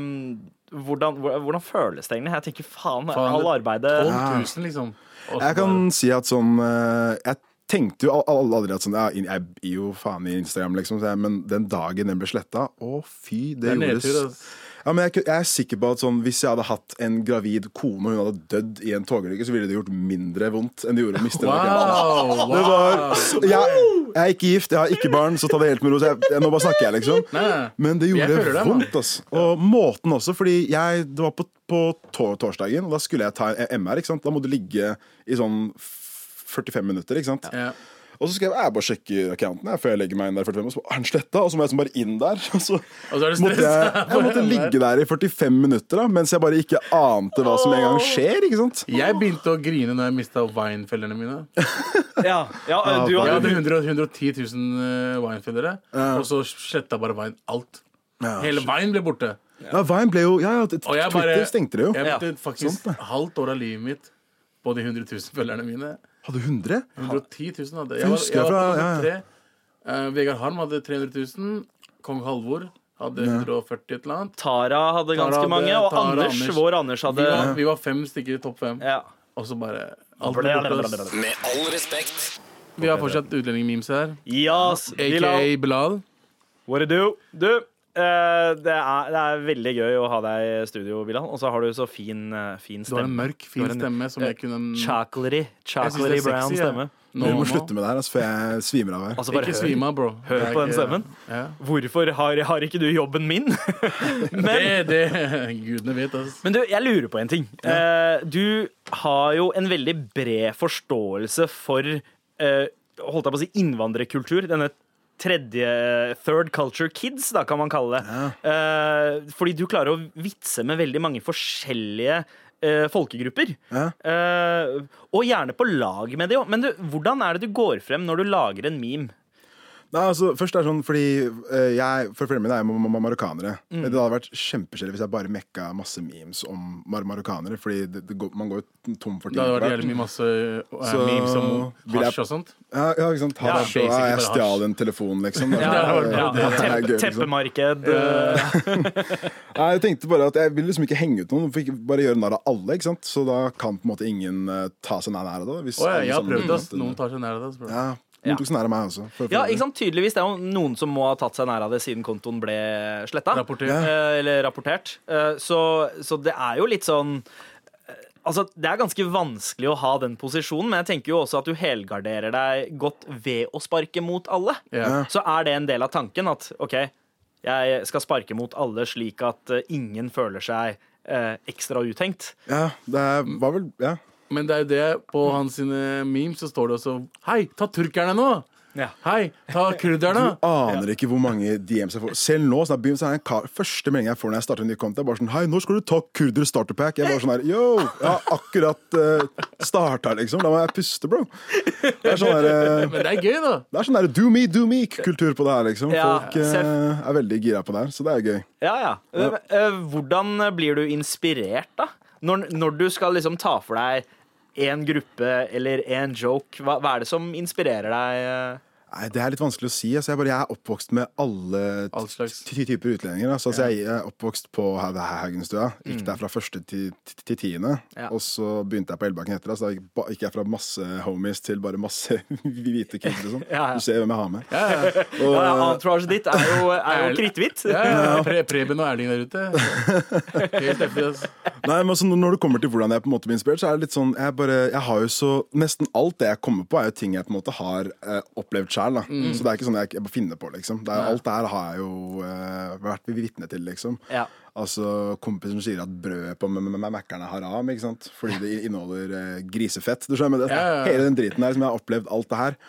hvordan, hvor- hvordan føles det egentlig? Jeg tenker faen,
Faen,
all arbeidet
12 000, liksom. Og så
Jeg kan si at sånn eh, Jeg tenkte jo al- al- aldri at sånn ja, Jeg er jo faen i Instagram, liksom, så jeg, men den dagen den ble sletta, å fy, det,
bare- det er
gjorde
nedtur, ass.
Ja, men jeg, ku- jeg er sikker på at sånn, Hvis jeg hadde hatt en gravid kone og hun hadde dødd i en togulykke, så ville det gjort mindre vondt enn det gjorde å miste en orgasme.
Wow, wow.
Det var, jeg, jeg er ikke gift, jeg har ikke barn, så ta det helt med ro. Så jeg, jeg, nå bare snakker jeg, liksom.
Nei, nei.
Men det
Jeg
gjorde
føler det, mann.
vondt, ass. Og måten også, fordi jeg, det var på, på tor torsdagen, og da skulle jeg ta en MR. ikke sant? Da må du ligge i sånn f- 45 minutter, ikke sant.
Ja.
Og så skrev jeg jeg bare sjekker accounten jeg, før jeg legger meg inn der. i 45, og så er den sletta, og så må jeg liksom bare inn der. Og så,
Og så er du
måtte jeg,
stresset.
jeg måtte ligge der i 45 minutter da, mens jeg bare ikke ante hva som en gang skjer. ikke sant?
Jeg begynte å grine når jeg mista winefellerne mine.
ja, ja, du
Jeg
har
hadde 100, 110 000 winefellere, eh, og så sletta bare Vine alt. Hele Vine ble borte.
Ja, Vine ble jo, ja, ja, t-
Og jeg
Twitter
bare
stengte det jo.
Jeg brukte
sant
faktisk
det.
halvt år av livet mitt på de 100 000 følgerne mine.
Hadde 100?
110 000 hadde jeg.
Jeg
Var,
husker
jeg var
fra-
på
ja, ja.
nummer tre. Eh, Vegard Harm hadde 300 000. Kong Halvor hadde 140 et eller annet.
Tara hadde ganske
Tara hadde-
mange, og
Tara,
Anders,
Anders.
vår Anders,
Vi
hadde
var, vi var fem stykker i topp fem.
ja.
Og så bare alt ble borte.
Ja,
Med all respekt.
Vi har fortsatt utlendingmemes her.
Yes,
AKA
Bilal.
Bilal.
What it do? Du, eh, det, er, det er veldig gøy å ha deg i studio, Bilal. Og så har du så fin, eh, fin
Du har en
stemme.
mørk, fin
har en-
stemme som
eh,
jeg kunne
Chocolatey.
Jeg synes
Chocolatey
det er
brown
sexy, jeg.
stemme.
Nå,
Dere må
nå.
slutte med det her, altså, for jeg svimer av her.
Altså, bare
Ikke
hør.
svim av, bro.
hør
Det er
på den
ikke-
stemmen.
Ja.
Hvorfor har, har ikke du jobben min? Men,
Det, det Gudene vet, altså.
men du, jeg lurer på en ting. Eh, du har jo en veldig bred forståelse for eh, holdt jeg på å si, innvandrerkultur. Denne tredje Third culture kids, da kan man kalle det. Eh, fordi du klarer å vitse med veldig mange forskjellige eh, folkegrupper.
Ja.
Eh, og gjerne på lag med det òg. Men du, hvordan er det du går frem når du lager en meme?
Nei, altså, først er det sånn, fordi eh, jeg, For foreldrene mine er jo ma- ma- marokkanere.
Mm.
Det hadde vært kjempeskjellig hvis jeg bare mekka masse memes om mar marokkanere. Fordi det, det går, man går jo tom for ting.
Det hadde vært
etter hvert.
jævlig mye masse eh,
Så
memes om
vil jeg-
hasj og sånt.
Ja, ja, ikke sant?
Ja,
Hasj, og, ja, jeg
basically bare
stjal en telefon, liksom.
Ja, det hadde vært bra,
Ja,
det.
er gøy,
teppe,
liksom.
teppemarked. eh,
Nei, jeg tenkte bare at jeg ville liksom ikke henge ut noen, for ikke bare gjøre narr av alle. ikke sant? Så da kan på en måte ingen eh, ta seg nær nær av det. Hvis
Å, ja,
alle
jeg har
sammen-
prøvd, ass. Noen tar seg nær av det. ass, bro.
Ja,
Ja.
Noen tok seg nær av meg også. for- for
Ja,
øvrig.
ikke sant? Tydeligvis. Det er jo noen som må ha tatt seg nær av det siden kontoen ble sletta.
Rapportert.
Eller rapportert. Eh, Så, så det er jo litt sånn eh, Altså, Det er ganske vanskelig å ha den posisjonen, men jeg tenker jo også at du helgarderer deg godt ved å sparke mot alle.
Ja.
Så er det en del av tanken at OK, jeg skal sparke mot alle slik at eh, ingen føler seg eh, ekstra uthengt.
Ja, det er, var vel Ja.
Men det er jo det, på
Mm.
hans sine memes så står det også Hei, ta turkerne nå!
Ja.
Hei, ta kurderne!
Aner ikke hvor mange DMs jeg får. Selv nå, snart begynt, så er det en kar Første melding jeg får når jeg starter en ny konto, er bare sånn Hei, når skal du ta kurder starter pack? Jeg bare sånn her Yo, jeg har akkurat uh, starta, liksom. La meg puste, bro. Det er sånn her eh,
Men det er gøy, da.
det er sånn der do me, do me-kultur på det her, liksom.
Ja,
Folk eh,
selv.
er veldig gira på det her, så det er gøy.
Ja, ja. Eh, eh, Hvordan blir du inspirert, da? Når, når du skal liksom ta for deg en gruppe eller en joke, hva, hva er det som inspirerer deg? eh?
Nei, Det er litt vanskelig å si. Altså, jeg, bare, jeg er oppvokst med alle t-
All slags.
ty typer utlendinger. Altså, altså, jeg er oppvokst på Ha- det her Haugenstua. Gikk der fra første til, til, til tiende.
Ja.
Og så begynte jeg på Elbakken etter. Altså, da gikk ba- gikk jeg fra masse homies til bare masse hvite kids. Liksom.
Ja, ja.
Du ser hvem jeg har med.
Ja, ja.
Og,
Ja, ja, Entourage ditt er jo, er jo kritthvitt.
Ja, ja. Pre Preben og Erling der ute. Helt heftig, altså.
Nei, men altså, Når det kommer til hvordan jeg på en måte blir inspirert, så er det litt sånn Jeg, bare, jeg har jo så Nesten alt det jeg kommer på, er jo ting jeg på en måte har eh, opplevd sjøl.
Mm.
Så det er ikke sånn jeg, jeg bare finner på, liksom. Det er, alt det her har jeg jo eh, vært vitne til, liksom.
Ja.
Altså, Kompisen sier at brødet på Mækkern er haram, ikke sant? fordi det inneholder eh, grisefett. Du skjønner, men det,
Ja, ja, ja.
Hele den driten der som jeg har opplevd alt det her.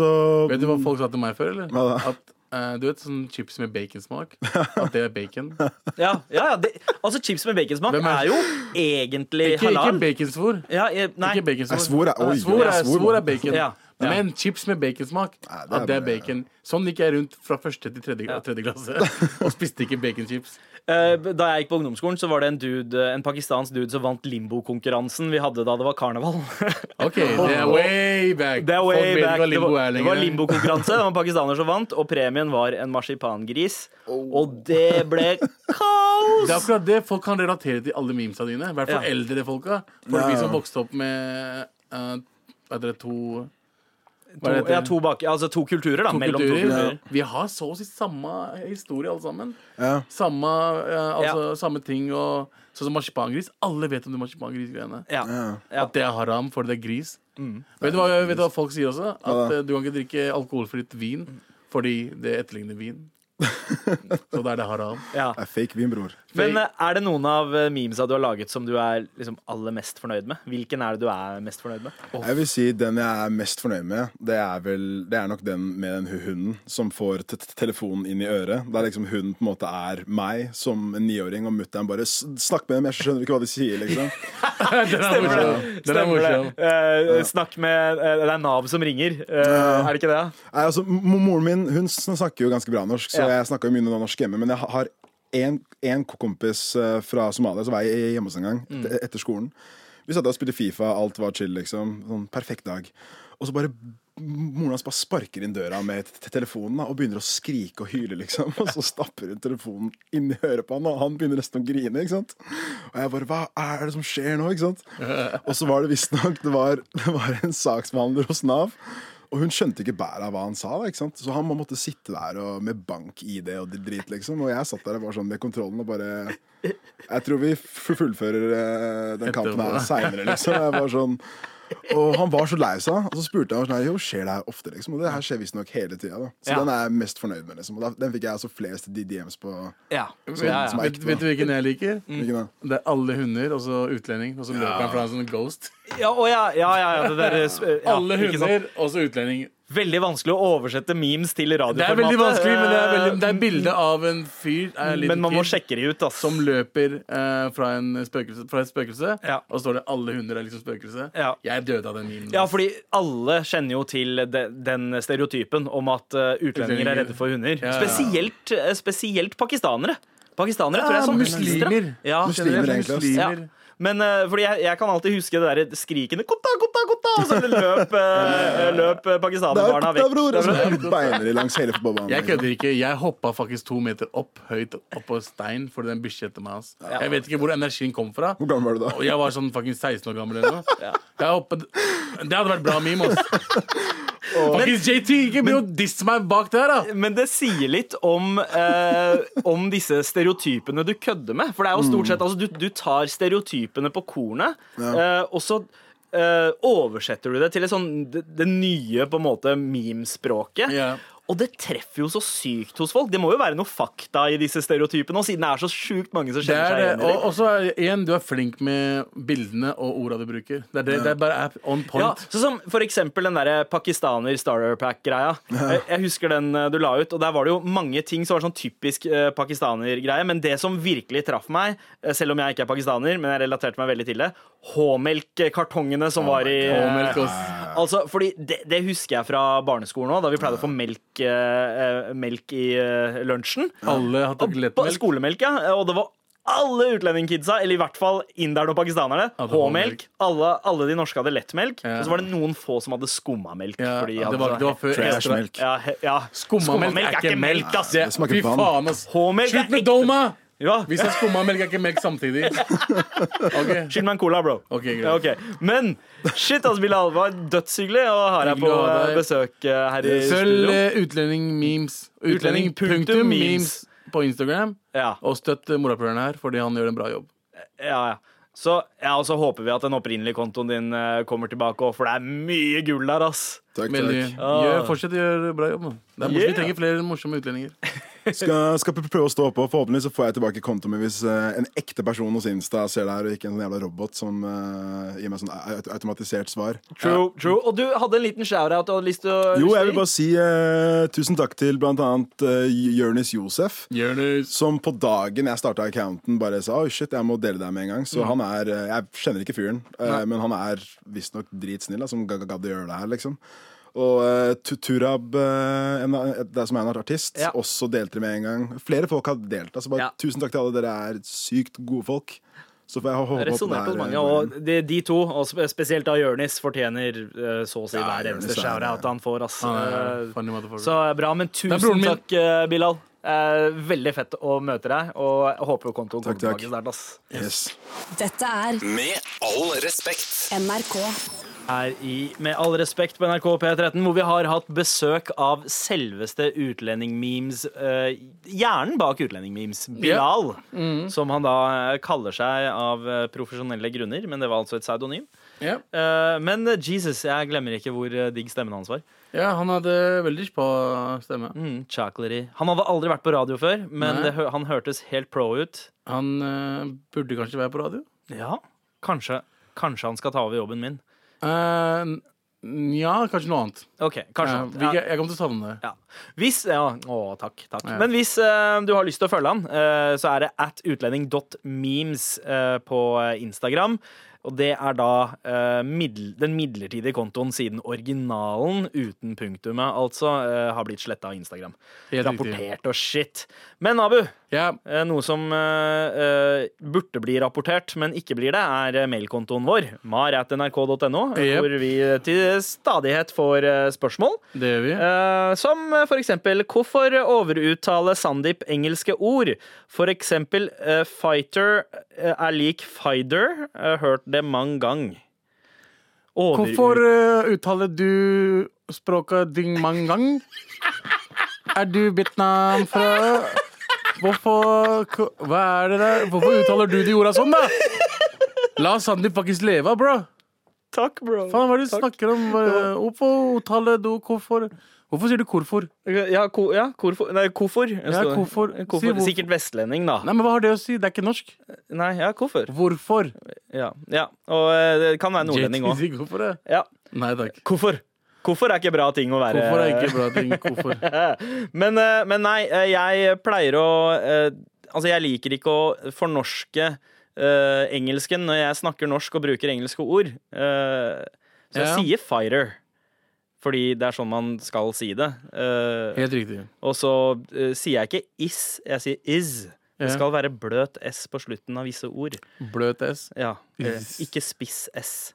Så
Vet du hva folk sa til meg før, eller?
Hva da?
At eh, du vet sånn chips med baconsmak? At det er bacon?
Ja, ja, ja det, altså Chips med baconsmak
Hvem er-
er jo egentlig
Ikke, ikke
halal.
baconsvor.
Ja, eh, nei.
Ikke baconsvor.
Jeg svor er- oi,
svor
jeg
er,
svor,
svor er
mann.
bacon.
Ja. Ja.
Men chips med baconsmak,
Nei, det er
at det er
bare-
bacon. Sånn gikk jeg rundt fra første til tredje, tredje klasse og spiste ikke baconchips.
Eh, Da jeg gikk på ungdomsskolen, så var det en, dude, en pakistansk dude som vant limbokonkurransen vi hadde da det var karneval.
OK, det er way back.
Det er
Folk
way
vet ikke
back.
hva
Det
limbo
var,
er
det
lenger.
var limbokonkurranse. Det var en pakistaner som vant, og premien var en marsipangris.
Oh.
Og det ble
Det er
kaos!
akkurat det. Folk kan relatere til alle memesa dine. I hvert fall
Ja.
eldre folka. For vi som vokste opp med eh, Hva heter det, to
To,
hva heter det?
ja, to, bak, altså to kulturer, da.
To
mellom to
kulturer.
kulturer.
Vi har så å si samme historie, alle sammen.
Ja.
Samme, eh, altså, samme ting og Sånn som marsipangris. Alle vet om de marsipangrisgreiene.
Ja. Ja. Mm.
At det er haram for det er gris. Vet, du hva, vet du hva folk sier også? At eh, du kan ikke drikke alkoholfritt vin fordi det etterligner vin. så da er det haram.
Ja.
det er fake vin, bror.
Men eh, er det noen av eh, memesa du har laget som du er liksom aller mest fornøyd med? Hvilken er det du er mest fornøyd med?
Jeg vil si Den jeg er mest fornøyd med, det er vel Det er nok den med den hu- hunden som får t t- telefonen inn i øret. Der liksom hunden på en måte er meg som en niåring, og mutter'n bare "S- 'Snakk med dem, jeg skjønner ikke hva de sier', liksom.
Den er morsom. Den er
Stemmer det.
morsom.
Eh, snakk med eh, Det er Nav som ringer, eh, er det ikke det?
Nei, altså, m- Moren min hun sn- snakker jo ganske bra norsk, så
Ja.
jeg snakker jo mye norsk hjemme. Men jeg ha- har én kompis eh, fra Somalia som var jeg hjemme hos en gang et- etter skolen. Vi satt der og spilte Fifa, alt var chill, liksom. Sånn perfekt dag. Og så bare Moren hans bare sparker inn døra med t- t- telefonen da, og begynner å skrike og hyle. liksom Og så stapper hun telefonen inn i øret på han, og han begynner nesten å grine. ikke sant Og jeg bare Hva er det som skjer nå? ikke sant Og så var det visstnok det, var- det var en saksbehandler hos Nav. Og hun skjønte ikke bæret av hva han sa, da, ikke sant? så han måtte sitte der og, med bank-ID og drit, liksom. Og jeg satt der og var sånn med kontrollen og bare Jeg tror vi f- fullfører eh, den kampen her seinere, liksom. Jeg var sånn og han var så lei seg, og så spurte jeg ham sånn, jo, skjer det her ofte. liksom Og det her skjer visstnok hele tida. da. Så
Ja.
den er jeg mest fornøyd med. liksom Og da, Den fikk jeg altså flest DMs på.
Ja.
Vet,
ja, ja.
vet, vet du hvilken jeg liker?
Mm.
Ikke da?
Det er alle hunder, og så utlending. Og så løper han fra en sånn ghost.
Ja, å ja, ja, ja, ja, det der, eh, sp- ja,
alle
ikke sant?
hunder, og så utlending.
Veldig vanskelig å oversette memes til radioformatet.
Det er veldig vanskelig, men det er, veldig, det
Eh,
er bilde av en fyr eh, liten
men man må
kid,
sjekke de ut, ass.
som løper eh, fra, en spøkelse, fra et spøkelse.
Ja.
Og så står det 'alle hunder er liksom spøkelse'.
Ja.
Jeg døde av den memen.
Ja, fordi alle kjenner jo til de, den stereotypen om at eh, utlendinger er redde for hunder.
ja, ja.
Spesielt, eh, spesielt pakistanere. Pakistanere tror jeg
Ja,
er sånn
muslimer.
hustre. Ja,
Muslimer,
Generelt
egentlig, ass.
Ja.
muslimer.
Men eh, fordi jeg, jeg kan alltid huske det der skrikende Kutta, kutta, kutta! Og så løp, uh, løp eh,
Det er
pakistanerbarna
gutta,
vekk.
bror! Og så beiner de langs hele fotballbanen. liksom.
Jeg kødder ikke. Jeg hoppa faktisk to meter opp høyt oppå stein fordi det er en bikkje etter meg. ass. Jeg vet ikke hvor energien kom fra.
Hvor gammel var du da?
Og jeg var sånn fucking 16 år gammel eller noe. Jeg hoppet, det hadde vært bra meme, ass. Fuckings JT, ikke begynn å disse meg bak der, da!
Men det sier litt om, eh, om disse stereotypene du kødder med. For det er jo
Mm.
stort sett altså, du, du tar stereotypene på kornet, eh, og så eh, oversetter du det til et sånn, det, det nye på en måte memespråket.
Ja.
Og det treffer jo så sykt hos folk. Det må jo være noe fakta i disse stereotypene. Og siden det er så sjukt mange som
Det
kjenner seg
er, det.
igjen i
og
det.
og så er- igjen, du er flink med bildene og orda du bruker. Det er, det, det er bare app on
Ja,
point.
sånn som for eksempel den der pakistaner starter pack-greia. Jeg, jeg husker den eh, du la ut, og der var det jo mange ting som var sånn typisk eh, pakistaner-greie, men det som virkelig traff meg, eh, selv om jeg ikke er pakistaner, men jeg relaterte meg veldig til det, H-melk-kartongene som var i
Påmelk oss.
Altså, fordi det, det husker jeg fra barneskolen òg, da vi pleide å få melk, eh, eh, melk i eh, lunsjen.
Alle har tatt
Og ba-
lettmelk.
Skolemelk, ja. Og det var alle utlendingkidsa, eller i hvert fall inderne og pakistanerne,
Hadde
H-melk.
H-melk.
Alle, alle de norske hadde lettmelk.
Ja.
Og så var det noen få som hadde skummamelk.
Ja,
fordi de hadde
det, var,
sånn-
det var før
Trash
ekstra-
milk.
ja, he- ja.
Skummamelk er ikke melk, ass!
Det,
Det smaker
Fy
vann.
faen, ass.
H-melk er
Slutt med
ekte-
doma!
ja.
Vi sa skummamelk er ikke melk samtidig. Ok,
Skyld meg en cola, bro.
Ok, greit.
Ja, ok. Men shit, ass, Bilal. Det var dødshyggelig å ha deg
Hyggelig
på
å ha deg.
eh, besøk eh, her i
Følg
studio.
eh, utlending-memes.
Utlending punktum
Utlending-punktum-memes på Instagram.
Ja,
Og støtt eh, morapuleren her, fordi han gjør en bra jobb.
ja, ja. Så, ja, og så håper vi at den opprinnelige kontoen din eh, kommer tilbake òg, for det er mye gull der, ass.
Takk,
Veldig.
takk.
eh, Gjør, fortsett å gjøre bra jobb. da. Det er morsomt.
Ah. Yeah.
Vi trenger flere morsomme utlendinger.
Skal, skal prøve å stå på. Forhåpentlig så får jeg tilbake kontoen min hvis eh, en ekte person hos Insta ser det her, og ikke en sånn jævla robot som eh, gir meg sånn au- automatisert svar.
True, true. Og du hadde en liten shout-out du hadde lyst til å
Jo, jeg vil bare si eh, tusen takk til blant annet uh, Jonis Josef.
Jonis.
Som på dagen jeg starta accounten, bare sa Oi shit, jeg må dele deg med en gang.
Mm.
Så han er eh, Jeg kjenner ikke fyren, eh, men han er visstnok dritsnill, da, som ga- gadd å gjøre det her, liksom. Og eh, Tu- Turab, eh, en, det som er en artist,
Ja.
også delte det med en gang. Flere folk har delt. Altså bare
Ja.
Tusen takk til alle, dere er sykt gode folk. Så får jeg hå- håpe at det
Resonnert hos
her,
mange,
eh,
og de, de to, og spe- spesielt da Jørnis, fortjener eh, så å si
Ja,
hver
Jonis
eneste
er-
shout-out han får. Ass.
Han er
Eh,
funny motherfucker.
Så bra, men
er broren
tusen
min.
takk, eh, Bilal. Eh, veldig fett å møte deg, og jeg håper kontoen kommer
takk.
tilbake snart. ass.
Yes.
Dette er
Med all respekt.
NRK.
her i Med all respekt på NRK P13, hvor vi har hatt besøk av selveste utlendingmemes eh, Hjernen bak utlendingmemes, Bilal.
Mm.
Som han da eh, kaller seg av eh, profesjonelle grunner, men det var altså et pseudonym.
Ja.
Eh, men eh, Jesus, jeg glemmer ikke hvor eh, digg stemmen hans var.
ja, han hadde veldig spa stemme.
Mm, chocolatey. Han hadde aldri vært på radio før, men
Nei.
det, hø- han hørtes helt pro ut.
Han eh, burde kanskje være på radio.
Ja, kanskje, kanskje han skal ta over jobben min.
Eh, n- ja, kanskje noe annet.
OK,
Ja,
kanskje.
vi, jeg, jeg kommer til å savne det.
Ja. Hvis, ja. Å, takk. takk.
Ja.
Men hvis eh, du har lyst til å følge han, eh, så er det at utlending.memes eh, på eh, Instagram. Og det er da eh, middel, den midlertidige kontoen siden originalen uten punktumet altså eh, har blitt sletta av Instagram.
Helt riktig.
Rapportert og shit. Men Abu,
Ja,
eh, noe som eh, eh, burde bli rapportert, men ikke blir det, er eh, mailkontoen vår, mar.nrk.no,
Jep.
hvor vi eh, til stadighet får eh, spørsmål.
det gjør vi.
Eh, som eh, for eksempel Hvorfor overuttale Sandeep engelske ord? For eksempel eh, fighter eh, er lik fighter. Eh, hørt det mange ganger. Overut-
Hvorfor eh, uttaler du språket ding mang gang? Er du Vietnam fra Hvorfor k- Hva er det der? Hvorfor uttaler du de orda sånn, da? La Sandeep faktisk leve, bro.
Takk, bro.
Faen, hva er det du snakker om? Eh, Hvorfor uttaler du hvorfor? Hvorfor sier du hvorfor?
Ja, ko, ja hvorfor? Nei, hvorfor?
Ja, hvorfor? Si hvorfor.
Sikkert vestlending, da.
Nei, men Hva har det å si? Det er ikke norsk.
Nei, ja, hvorfor?
Hvorfor?
Ja, ja. Og eh, det kan være nordlending
JT
òg.
sier hvorfor det.
Ja.
Nei takk.
Hvorfor? Hvorfor er ikke bra ting å være
Hvorfor er eh, ikke bra ting? Hvorfor?
Men, eh, men nei, eh, jeg pleier å eh, Altså, jeg liker ikke å fornorske eh, engelsken når jeg snakker norsk og bruker engelske ord. Eh, så jeg
Ja.
sier 'fighter', fordi det er sånn man skal si det. Eh,
Helt riktig.
og så eh, sier jeg ikke 'is', jeg sier 'is'. Det
Ja.
skal være bløt S på slutten av visse ord.
Bløt S.
Ja, eh,
Is.
Ikke spiss S.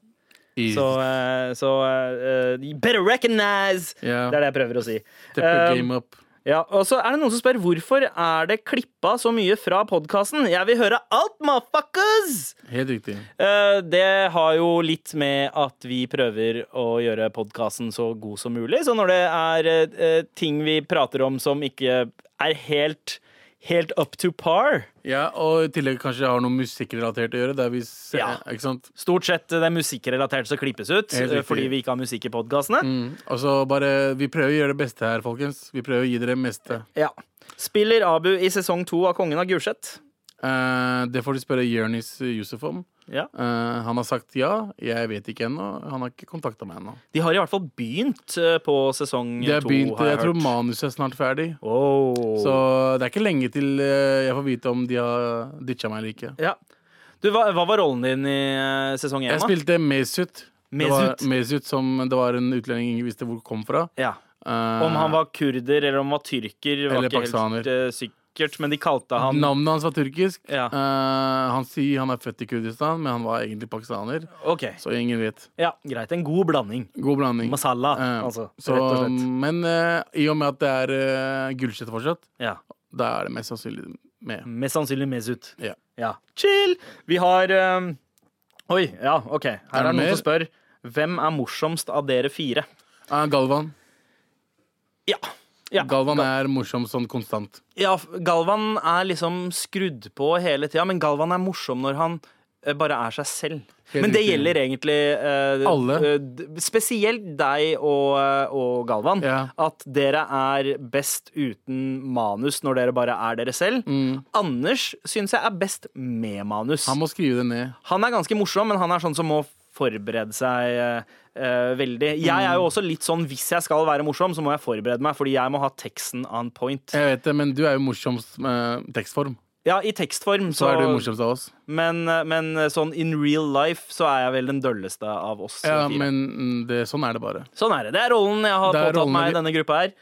Is.
Så, eh, så eh, eh, you Better recognize!
Ja.
Det er det jeg prøver å si.
Step your
Um,
game up.
Ja, og så er det noen som spør hvorfor er det klippa så mye fra podkasten. Jeg vil høre alt, motherfuckers!
Helt riktig.
Eh, Det har jo litt med at vi prøver å gjøre podkasten så god som mulig. Så når det er eh, ting vi prater om som ikke er helt, helt up to par
Ja, og i tillegg kanskje jeg har noe musikkrelatert å gjøre. Der vi ser,
Ja.
ikke sant?
Stort sett eh, det er musikkrelatert som klippes ut
Helt
eh,
riktig. Mm.
fordi vi ikke har musikk i podkastene.
Og så bare, Vi prøver å gjøre det beste her, folkens. Vi prøver å gi dere det meste.
Ja. Spiller Abu i sesong to av Kongen av Gulset?
Eh, det får du spørre Jonis Yousef om.
Ja.
Eh, han har sagt ja. Jeg vet ikke ennå. Han har ikke kontakta meg ennå.
De har i hvert fall begynt eh, på sesong
Det er
to,
begynt,
har
jeg
jeg
tror
hørt.
manuset er snart ferdig.
Wow.
Så det er ikke lenge til eh, jeg får vite om de har ditcha meg eller ikke.
Ja. Du, hva, hva var rollen din i eh, sesong én?
Jeg
da?
spilte Mesut. Det var
Mesut?
Mesut som det var en utlending ingen visste hvor kom fra.
Ja.
Eh,
Om han var kurder eller om han var tyrker, var
Eller
ikke helt
pakistaner.
eh, sikkert, men de kalte han
Navnet hans var turkisk.
Ja.
Eh, han sier han er født i Kurdistan, men han var egentlig pakistaner.
OK.
Så ingen vet.
Ja, greit. En god blanding.
God blanding.
Masala,
Eh,
altså.
så,
rett og slett.
Men eh, i og med at det er uh, Gulset fortsatt,
Ja.
da er det mest sannsynlig med.
Mest sannsynlig Mesut.
Ja.
Ja. Chill! Vi har eh, Oi, ja, OK. Her er det
mer?
noen som spør hvem er morsomst av dere fire?
Ah, Galvan.
Ja. Ja.
Galvan er morsom sånn konstant.
ja, f- Galvan er liksom skrudd på hele tida, men Galvan er morsom når han eh, bare er seg selv.
Helt
men det
riktig.
gjelder egentlig eh,
Alle.
eh, d- spesielt deg og, eh, og Galvan.
Ja.
At dere er best uten manus når dere bare er dere selv. Anders syns jeg er best med manus.
Mm. Han må skrive det ned.
Han er ganske morsom, men han er sånn som må forberede seg eh, eh, veldig. Jeg
Mm.
er jo også litt sånn hvis jeg skal være morsom, så må jeg forberede meg, fordi jeg må ha teksten on point.
Jeg vet det, men du er jo morsomst med tekstform.
Ja, i tekstform,
Så
så,
er du morsomst av oss.
men, men sånn in real life så er jeg vel den dølleste av oss
Ja,
fire.
men mm, det, sånn er det bare.
Sånn er det. Det er rollen jeg har
Det er
påtatt
rollen
meg i
vi-
denne gruppa her.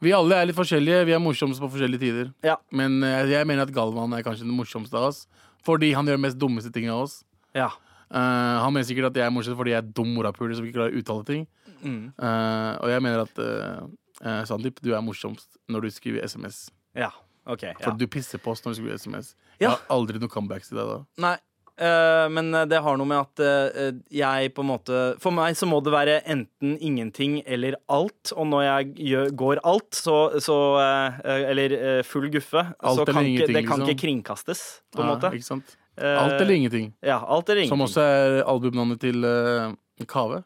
Vi alle er litt forskjellige. Vi er morsomst på forskjellige tider.
Ja.
Men eh, jeg mener at Galvan er kanskje den morsomste av oss. Fordi han gjør de mest dummeste ting av oss.
Ja.
Eh, han mener sikkert at jeg er morsom fordi jeg er dum morapuler som ikke klarer å uttale ting.
Mm.
Eh, og jeg mener at eh, eh, Sandeep, du er morsomst når du skriver SMS.
ja. OK.
For
Ja.
du pisser på oss når du skriver SMS.
Ja.
Jeg har aldri noe comebacks til deg da.
Nei. eh, men det har noe med at eh, jeg på en måte For meg så må det være enten ingenting eller alt. Og når jeg gjør, går alt, så, så eh, Eller eh, full guffe,
Alt
så
eller
kan ikke, det
ingenting,
kan
liksom.
ikke kringkastes, på en
Ja,
måte.
Ikke sant?
Eh,
Alt eller ingenting.
Ja, alt eller
Som
ingenting.
også er albumnavnet til eh, Kave.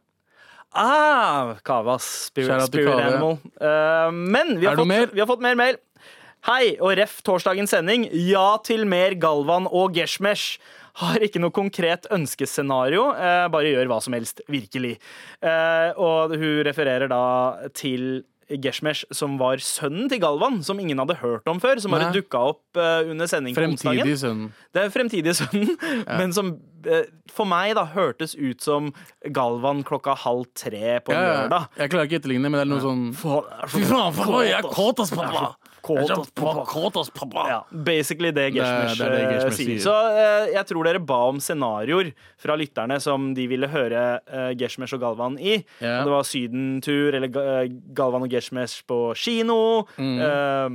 Ah, Kavas. Spirit,
Shout out til
spirit
Kave.
Animal. Eh, men vi har,
Er det noe
fått,
mer?
vi har fått mer mail. Hei og ref torsdagens sending. Ja til mer Galvan og Geshmesh. Har ikke noe konkret ønskescenario, eh, bare gjør hva som helst. Virkelig. Eh, og hun refererer da til Geshmesh, som var sønnen til Galvan, som ingen hadde hørt om før. Som bare
Nei.
dukka opp eh, under sending på onsdagen.
Fremtidig sønn.
Det er fremtidige sønnen, men som eh, for meg da hørtes ut som Galvan klokka halv tre på en
Ja, ja.
lørdag.
Jeg klarer ikke å etterligne, men det er noe sånn
Fy faen, jeg er kåt ass, pappa! Kåt ass, pappa. Ja, basically det Geshmesh
det er det
eh,
Geshmesh
sier.
sier.
Så eh, jeg tror dere ba om scenarioer fra lytterne som de ville høre eh, Geshmesh og Galvan i.
Ja.
Om det var sydentur eller Ga- eh, Galvan og Geshmesh på kino. Eh,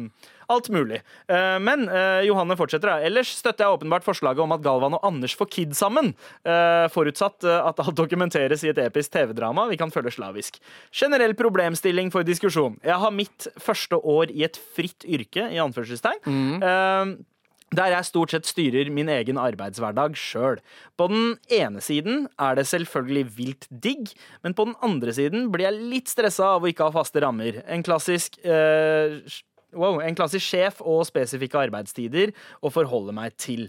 alt mulig. Eh, men eh, Johanne fortsetter. da. Ellers støtter jeg åpenbart forslaget om at Galvan og Anders får kid sammen. Eh, forutsatt eh, at alt dokumenteres i et episk TV-drama vi kan følge slavisk. Generell problemstilling for diskusjon. Jeg har mitt første år i et fritt yrke, i anførselstegn. Eh, der jeg stort sett styrer min egen arbeidshverdag sjøl. På den ene siden er det selvfølgelig vilt digg, men på den andre siden blir jeg litt stressa av å ikke ha faste rammer. En klassisk eh, Wow, En klassisk sjef og spesifikke arbeidstider å forholde meg til.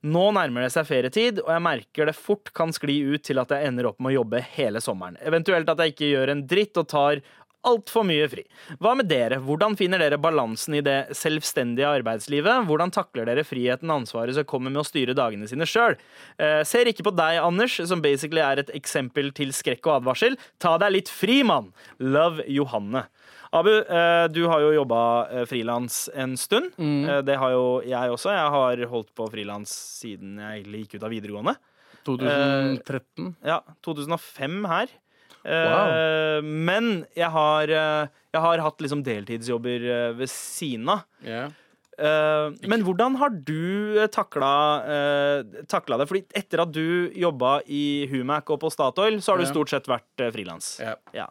Nå nærmer det seg ferietid, og jeg merker det fort kan skli ut til at jeg ender opp med å jobbe hele sommeren. Eventuelt at jeg ikke gjør en dritt og tar altfor mye fri. Hva med dere? Hvordan finner dere balansen i det selvstendige arbeidslivet? Hvordan takler dere friheten og ansvaret som kommer med å styre dagene sine sjøl? Eh, ser ikke på deg, Anders, som basically er et eksempel til skrekk og advarsel. Ta deg litt fri, mann! Love Johanne. Abu, eh, du har jo jobba frilans en stund. Eh, det har jo jeg også. Jeg har holdt på frilans siden jeg egentlig gikk ut av videregående.
2013.
Ja, 2005 her.
Wow.
Eh, men jeg har, eh, jeg har hatt liksom deltidsjobber eh, ved siden av.
Ja.
Eh, men hvordan har du eh, takla, eh, takla det? Fordi etter at du jobba i Humac og på Statoil, så har du
Ja.
stort sett vært eh, frilans.
Ja.
Ja.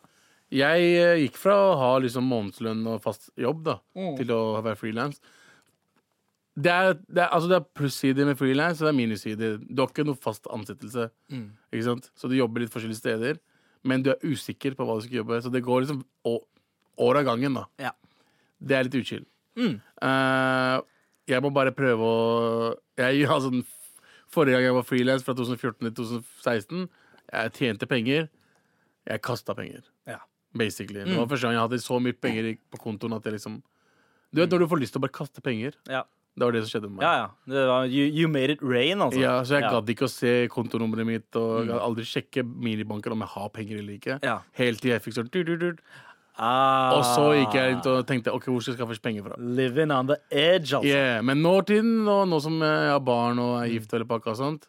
Jeg eh, gikk fra å ha liksom månedslønn og fast jobb da, til å være frilans. Det er, det, er, altså det er plussider med frilans, og det er minussider. Du har ikke noe fast ansettelse. Ikke sant? Så du jobber litt forskjellige steder, men du er usikker på hva du skal jobbe. Så det går liksom å- år av gangen, da.
Ja.
Det er litt uchill. Eh, jeg må bare prøve å jeg, altså, den f- Forrige gang jeg var frilans, fra 2014 til 2016, jeg tjente penger. Jeg kasta penger basically. Det var første gang jeg hadde så mye penger i- på kontoen at jeg liksom Du vet når du får lyst til å bare kaste penger?
Ja.
Det var det som skjedde med meg.
Ja, ja. Det var, you, you made it rain, altså.
Ja, så jeg
ja.
gadd ikke å se kontonummeret mitt og jeg gadd aldri sjekke minibanken om jeg har penger eller ikke.
Ja.
Helt til jeg fikk sånn tut, tut, tut.
Ah,
Og så gikk jeg rundt og tenkte OK, hvor skal jeg skaffe penger fra?
Living on the edge, altså.
Yeah, men nåtiden, og nå som jeg har barn og er gift og hele pakka og sånt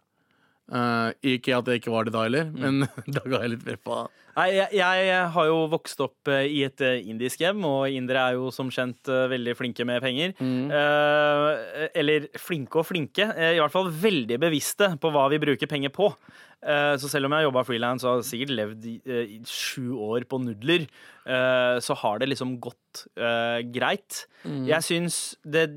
eh, Ikke at jeg ikke var det da heller, men da ga jeg litt mer faen.
Nei, jeg, jeg har jo vokst opp eh, i et eh, indisk hjem, og indere er jo som kjent eh, veldig flinke med penger. Eh, eller flinke og flinke. eh, I hvert fall veldig bevisste på hva vi bruker penger på. Eh, så selv om jeg har jobba frilans og har sikkert levd i, eh, i sju år på nudler, eh, så har det liksom gått eh, greit. Jeg syns det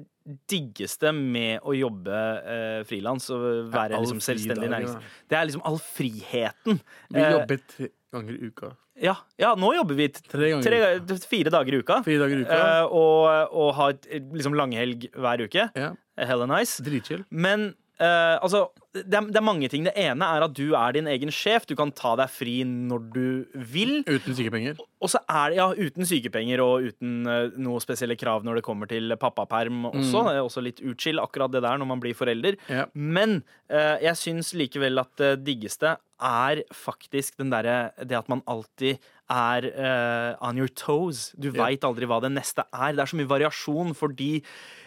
diggeste med å jobbe eh, frilans og
Er
være
all
liksom selvstendig
fridagen,
næringsdrivende,
da.
det er liksom all friheten.
Vi
Eh,
jobber tre ganger i uka.
ja, ja, nå jobber vi t-
Tre ganger i
tre, fire dager i uka.
Fire dager i uka.
Eh, og, og har et, liksom langhelg hver uke.
Ja.
Hella nice.
Dritchill.
Men eh, altså, det er, det er mange ting. Det ene er at du er din egen sjef. Du kan ta deg fri når du vil.
Uten sykepenger.
Og så er det ja, uten sykepenger og uten eh, noe spesielle krav når det kommer til pappaperm også. Det er også litt utskill, akkurat det der når man blir forelder.
Mm. Ja.
Men eh, jeg syns likevel at det diggeste er faktisk den derre Det at man alltid er eh, on your toes. Du vet veit aldri hva det neste er. Det er så mye variasjon fordi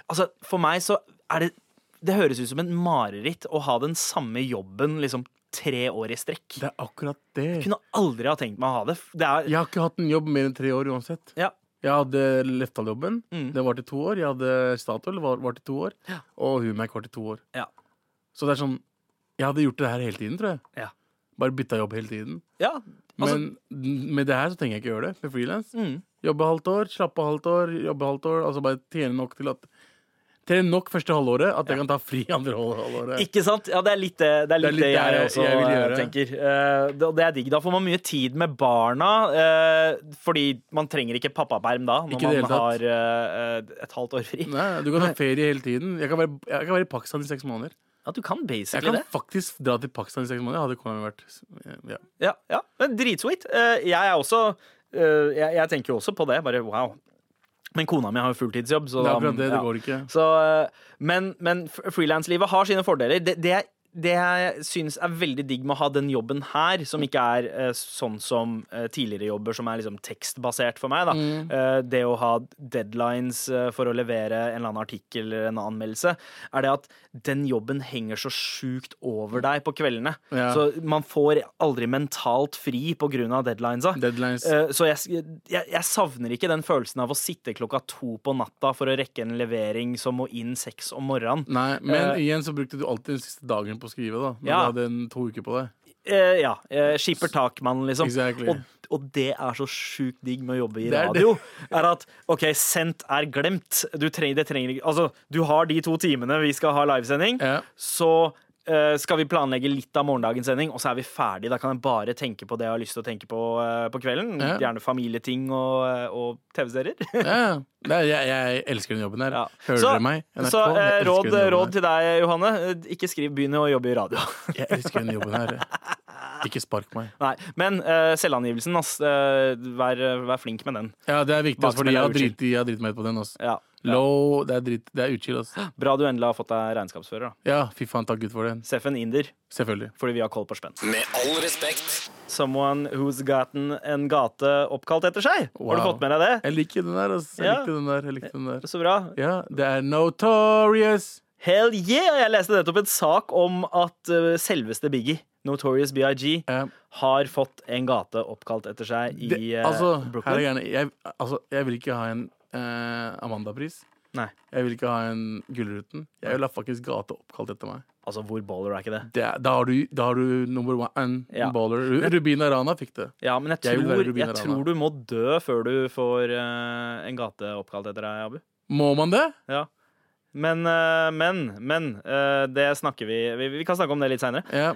Altså, for meg så er det Det høres ut som en mareritt å ha den samme jobben liksom tre år i strekk.
Det er akkurat det.
Jeg kunne aldri ha tenkt meg å ha det. Det er
Jeg har ikke hatt en jobb mer enn tre år uansett.
ja.
Jeg hadde Leftal-jobben. Den var til to år. Jeg hadde Statoil, var, var til to år. Og Humac var til to år.
Ja.
Så det er sånn Jeg hadde gjort det her hele tiden, tror jeg.
Ja.
Bare bytta jobb hele tiden.
Ja, altså, Mm.
Men med det her så trenger jeg ikke gjøre det. Med frilans. Jobbe halvt år, slappe halvt år, jobbe halvt år. Altså bare tjene nok til at Tjene nok første halvåret at jeg kan ta fri andre hal- halvåret.
ikke sant? Ja, det er litt det, det, er litt det, jeg, også
jeg vil
eh,
gjøre.
tenker. Eh, det, og det er digg. Da får man mye tid med barna, eh, fordi man trenger ikke pappaperm da, når
Ikke i det
man
hele tatt.
har eh, et halvt år fri.
Nei, du kan ta ferie hele tiden. Jeg kan være, jeg kan være i Pakistan i seks måneder.
Ja, du kan
Jeg
basically
kan
det.
faktisk dra til Pakistan i seks måneder. Hadde kona mi vært ja.
Ja, ja. Men dritsweet. Eh, jeg er også eh, jeg, jeg tenker jo også på det. Bare wow. Men kona mi har jo fulltidsjobb, så
Det er
da-
akkurat det. Det
ja.
går ikke.
Så, eh, men men fr- frilanslivet har sine fordeler. Det, det, jeg- det jeg syns er veldig digg med å ha den jobben her, som ikke er eh, sånn som eh, tidligere jobber, som er liksom tekstbasert for meg, da.
Mm.
Eh, det å ha deadlines eh, for å levere en eller annen artikkel eller en anmeldelse, er det at den jobben henger så sjukt over deg på kveldene.
Ja.
Så man får aldri mentalt fri på grunn av deadlinesa.
Deadlines.
Eh, Så jeg, jeg, jeg savner ikke den følelsen av å sitte klokka to på natta for å rekke en levering som må inn seks om morgenen.
Nei, men
Eh,
igjen så brukte du alltid den siste dagen på å skrive, da. Når
Ja.
du hadde en, to uker på deg.
Eh, ja. eh, Skipper takmannen, liksom.
Exactly.
Og, og det er så sjukt digg med å jobbe i
Det er det.
radio. Er at OK, sendt er glemt. Du trenger, det trenger ikke Altså, du har de to timene vi skal ha livesending.
Ja.
Så eh, skal vi planlegge litt av morgendagens sending, og så er vi ferdig. Da kan jeg bare tenke på det jeg har lyst til å tenke på eh, på kvelden.
Ja.
Gjerne familieting og, eh, og TV-serier.
Ja, ja. Nei, jeg, jeg elsker den jobben her.
Ja.
Hører
så,
dere meg? NRK,
så eh,
jeg elsker
råd,
den jobben
råd til deg, Johanne. Eh, Ikke skriv 'begynn å jobbe i radio'.
her. Jeg elsker den jobben her. Ikke spark meg.
Nei, Men eh, selvangivelsen, ass. Eh, vær, vær flink med den.
Ja, det er viktig, ass,
Bakspill
fordi
er
jeg har
uchill.
driti jeg har driti meg ut på den. Ass.
Ja.
Low, det er drit, det er uchill, ass.
Bra du endelig har fått deg regnskapsfører. da
Ja, fy faen, takk Gud for den.
Seffen Inder,
Selvfølgelig.
fordi vi har koll på spenn.
Med all respekt.
Someone who's gotten en gate oppkalt etter seg. Har du
Wow.
fått med deg det?
Jeg liker den der, ass. Jeg
Ja.
likte den der. Jeg likte den der.
Så bra.
Ja, det er notorious.
Hell yeah! Jeg leste nettopp en sak om at eh, selveste Biggie Notorious BIG,
Ja.
har fått en gate oppkalt etter seg i
Det,
eh,
altså, her er
Brooklyn.
gjerne, jeg, altså, jeg vil ikke ha en eh, Amanda-pris.
Nei,
Jeg vil ikke ha en Gullruten. Jeg vil ha faktisk gate oppkalt etter meg.
altså, hvor baller er ikke det?
Det, er- da, har du, da har du number one
Ja.
baller. Ru- Rubina Rana fikk det.
Ja, men jeg
Jeg vil være
tror,
Rubina
jeg
Rana.
tror du må dø før du får eh, en gate oppkalt etter deg, Abu.
Må man det?
Ja. Men, eh, men, men eh, det snakker vi Vi, vi kan snakke om det litt seinere.
Ja.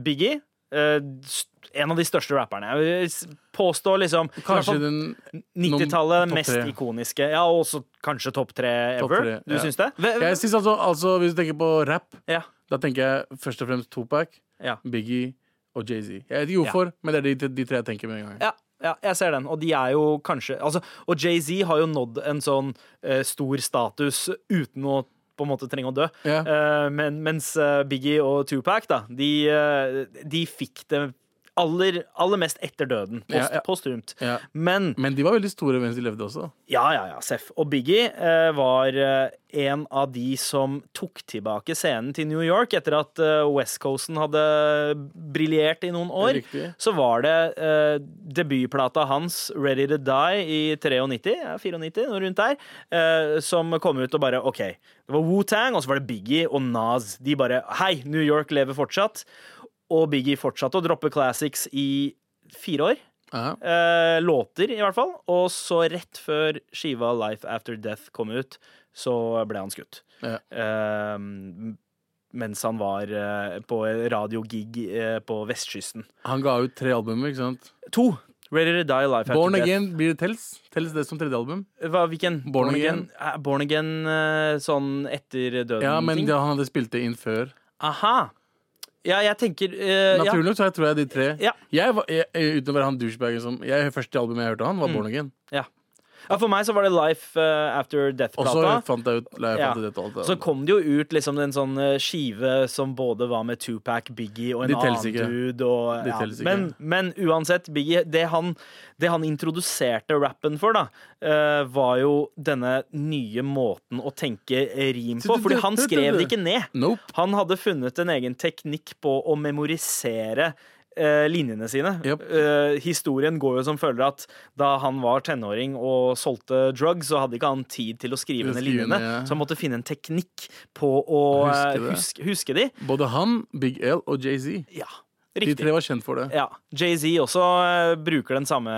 Biggie, eh, st- en av de største rapperne. Jeg vil s- påstå liksom i hvert fall
Kanskje den
90-tallet
Noen-
mest
topp tre.
ikoniske. Ja, og også kanskje topp tre
Topp
ever.
tre,
Du
ja.
syns det? Ve-
Jeg synes altså, altså, Hvis du tenker på rap,
ja.
da tenker jeg først og fremst Topac,
Ja.
Biggie og Jay-Z. Jeg vet ikke hvorfor, men det er de, de tre jeg tenker med en gang.
Ja, ja, jeg ser den. Og de er jo kanskje altså, Og Jay-Z har jo nådd en sånn eh, stor status uten å på en måte trenge å dø.
Ja.
Eh, men, mens eh, Biggie og Tupac, da, de, eh, de fikk det aller, aller mest etter døden. Post,
Ja, ja.
Posthumt.
Ja. Mm.
Men
Men de var veldig store mens de levde også.
ja, ja, ja, Seff. Og Biggie eh, var eh, en av de som tok tilbake scenen til New York etter at eh, West Coasten hadde briljert i noen år.
Riktig.
Så var det eh, debutplata hans, 'Ready to Die', i 93, ja, 94, noe rundt der, eh, som kom ut og bare OK. Det var Wu-Tang, og så var det Biggie og Nas. De bare Hei, New York lever fortsatt. Og Biggie fortsatte å droppe classics i fire år.
Ja.
Eh, låter, i hvert fall. Og så rett før skiva Life After Death kom ut, så ble han skutt.
Ja.
Eh, mens han var eh, på radiogig eh, på vestkysten.
Han ga ut tre albumer, ikke sant?
To! Ready to Die, Life
Born
After
Again blir det tels. Tels det som tredje album.
Death. Hva, hvilken?
Born Again.
Eh, Born Again eh, sånn etter
Ja, men
døden-ting?
det, han hadde spilt det inn før.
Aha! Ja, jeg tenker eh, ja.
Naturlig nok så jeg tror jeg de tre.
Ja.
Jeg var, jeg, uten å være han douchebagen som jeg, Første albumet jeg hørte av han,
Mm.
var Born Again.
ja. ja, for meg så var det Life eh, After
Og så
Death-plata.
fant jeg ut la jeg
Ja.
fant ut dette og alt det
Så
andre.
kom det jo ut liksom en sånn eh, skive som både var med Tupac, Biggie og en
De telles
annen
ikke.
dude. Og,
De
ja.
telles ikke.
men, men uansett, Biggie, det han, det han introduserte rappen for, da, eh, var jo denne nye måten å tenke rim på. Fordi han skrev det ikke ned.
Nope.
Han hadde funnet en egen teknikk på å memorisere eh, linjene sine.
Japp.
Eh, historien går jo som følger at da han var tenåring og solgte drugs, så hadde ikke han tid til å skrive ned
Skrive
linjene,
ned, ja.
så han måtte finne en teknikk på å
Huske
eh,
det.
huske, huske de.
Både han, Big L og Jay-Z.
Ja,
De
riktig.
tre var kjent for det.
Ja. Jay-Z også eh, bruker den samme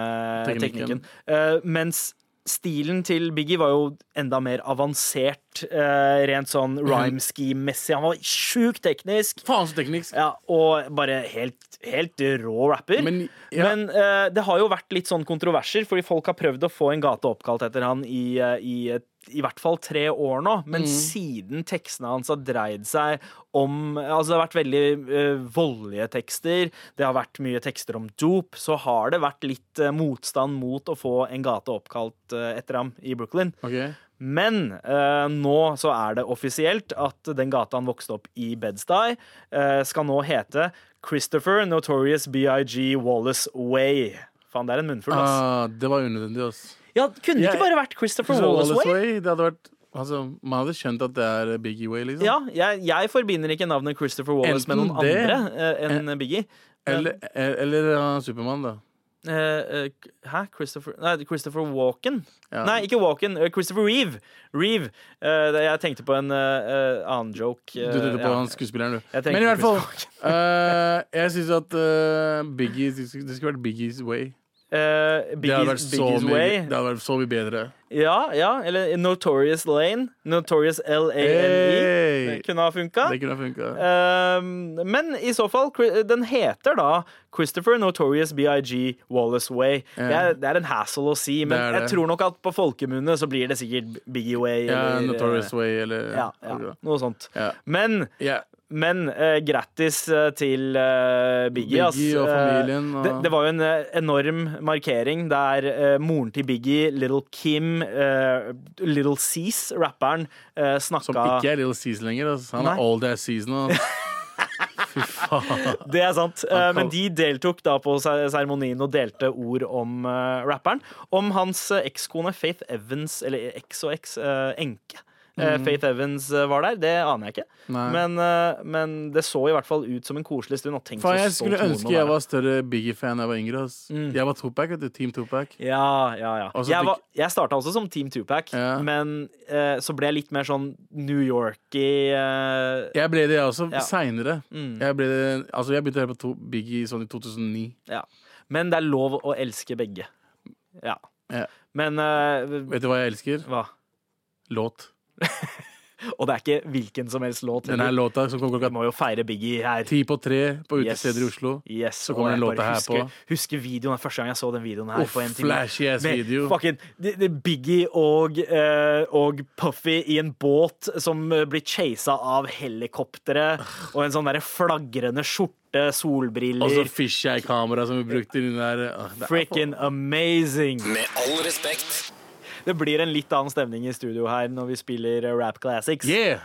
teknikken.
Teknikken.
Eh, mens stilen til Biggie var jo enda mer avansert, eh, rent sånn
Mhm.
rhyme scheme-messig. Han var sjukt teknisk.
Faen så teknisk!
Ja, og bare helt, helt rå rapper. Men,
Men, ja.
eh, det har jo vært litt sånn kontroverser, fordi folk har prøvd å få en gate oppkalt etter han i, eh, i, et- i hvert fall tre år nå. Men
Mm.
siden tekstene hans har dreid seg om Altså, det har vært veldig eh, voldelige tekster, det har vært mye tekster om dop, så har det vært litt eh, motstand mot å få en gate oppkalt eh, etter ham i Brooklyn.
Ok.
Men eh, nå så er det offisielt at den gata han vokste opp i Bedstuy, eh, skal nå hete Christopher Notorious BIG Wallace Way. Faen, det er en munnfull, ass.
Ah, det var unødvendig, ass.
ja, kunne det
Ah. jeg-
ikke bare vært Christopher
Så
Wallace,
Wallace
Way?
Way, det hadde vært altså, Man hadde skjønt at det er Biggie Way, liksom.
Ja, jeg, jeg forbinder ikke navnet Christopher Wallace med
Enten
noen
det,
andre eh, enn Biggie.
Eller, eller uh, Supermann, da.
Eh, eh, hæ? Christopher Nei, Christopher Walken?
Ja.
Nei, ikke Walken. eh, Christopher Reeve. Reeve. Eh, det- jeg tenkte på en eh, eh, annen joke. eh,
Du tenkte på
ja.
han skuespilleren, du.
Jeg tenkte
Men i
på
hvert fall eh, Jeg syns at eh, Biggie Det skulle det skulle vært Biggies Way.
Eh,
Det hadde vært,
Biggie's,
så
Biggie's
mye,
Way.
det hadde vært så mye bedre.
Ja, ja, eller Notorious Lane. Notorious L-A-N-E. E.
Hey!
Det kunne ha funka.
Det kunne ha funka.
Ehm, men i så fall, Chri- den heter da Christopher Notorious BIG Wallace Way. Det er, det er en hassle å si, men
Det er
jeg
det.
tror nok at på folkemunne så blir det sikkert Biggie Way.
Ja,
eller,
Notorious
eh,
Way eller
Ja, ja, noe sånt.
Ja.
Men
Ja.
men eh, grattis eh, til eh, Biggie. ass.
Biggie og familien,
Eh,
og-
det, det var jo en eh, enorm markering der eh, moren til Biggie, Little Kim, eh, Little Cease, rapperen, eh, snakka
Som ikke er Little Seas lenger. ass. Han
Nei.
er All That Seas nå. Fy faen.
Det er sant. Eh,
kall-
men de deltok da på se- seremonien og delte ord om eh, rapperen. Om hans eh, ekskone Faith Evans, eller eks og eks, eh, enke. Eh, Faith Evans eh, var der, det aner jeg ikke.
Mhm. Nei.
Men, eh, men det så i hvert fall ut som en koselig stund. Og tenk
Faen,
så
jeg
stolt
skulle
moren
ønske
må
jeg
være.
var større Biggie-fan da jeg var yngre. Ass. Jeg var Tupac, vet du. Team Tupac.
Ja, ja, ja.
Altså,
jeg
det-
var- jeg starta også som Team Tupac,
Ja.
men eh, så ble jeg litt mer sånn New York-y. eh,
Jeg ble det, jeg også.
Ja. Mm.
Seinere. Jeg, ble det, altså, jeg begynte å høre på to, Biggie sånn i 2009.
ja. Men det er lov å elske begge. Ja.
Ja.
Men eh,
Vet du hva jeg elsker?
hva?
Låt.
Og det er ikke hvilken som helst låt.
Denne
heller.
låta som kom
Vi
klokka
må jo feire Biggie her.
ti på tre på
Yes.
utesteder i Oslo.
Yes.
Så
og
kommer den
jeg
låta
bare
her
husker,
på.
Husker videoen her, første gang jeg så den videoen her.
Uff,
på NTV.
flashy ass
Med
video.
Fucking, det, det er Biggie og, eh, og Puffy i en båt som eh, blir chasa av helikoptre, og en sånn derre flagrende skjorte,
Og så
solbriller.
fisheye-kamera som vi brukte i den der. Åh, det er-
Freaking amazing!
Med all respekt.
Det blir en litt annen stemning i studio her når vi spiller eh, rap classics.
Yeah!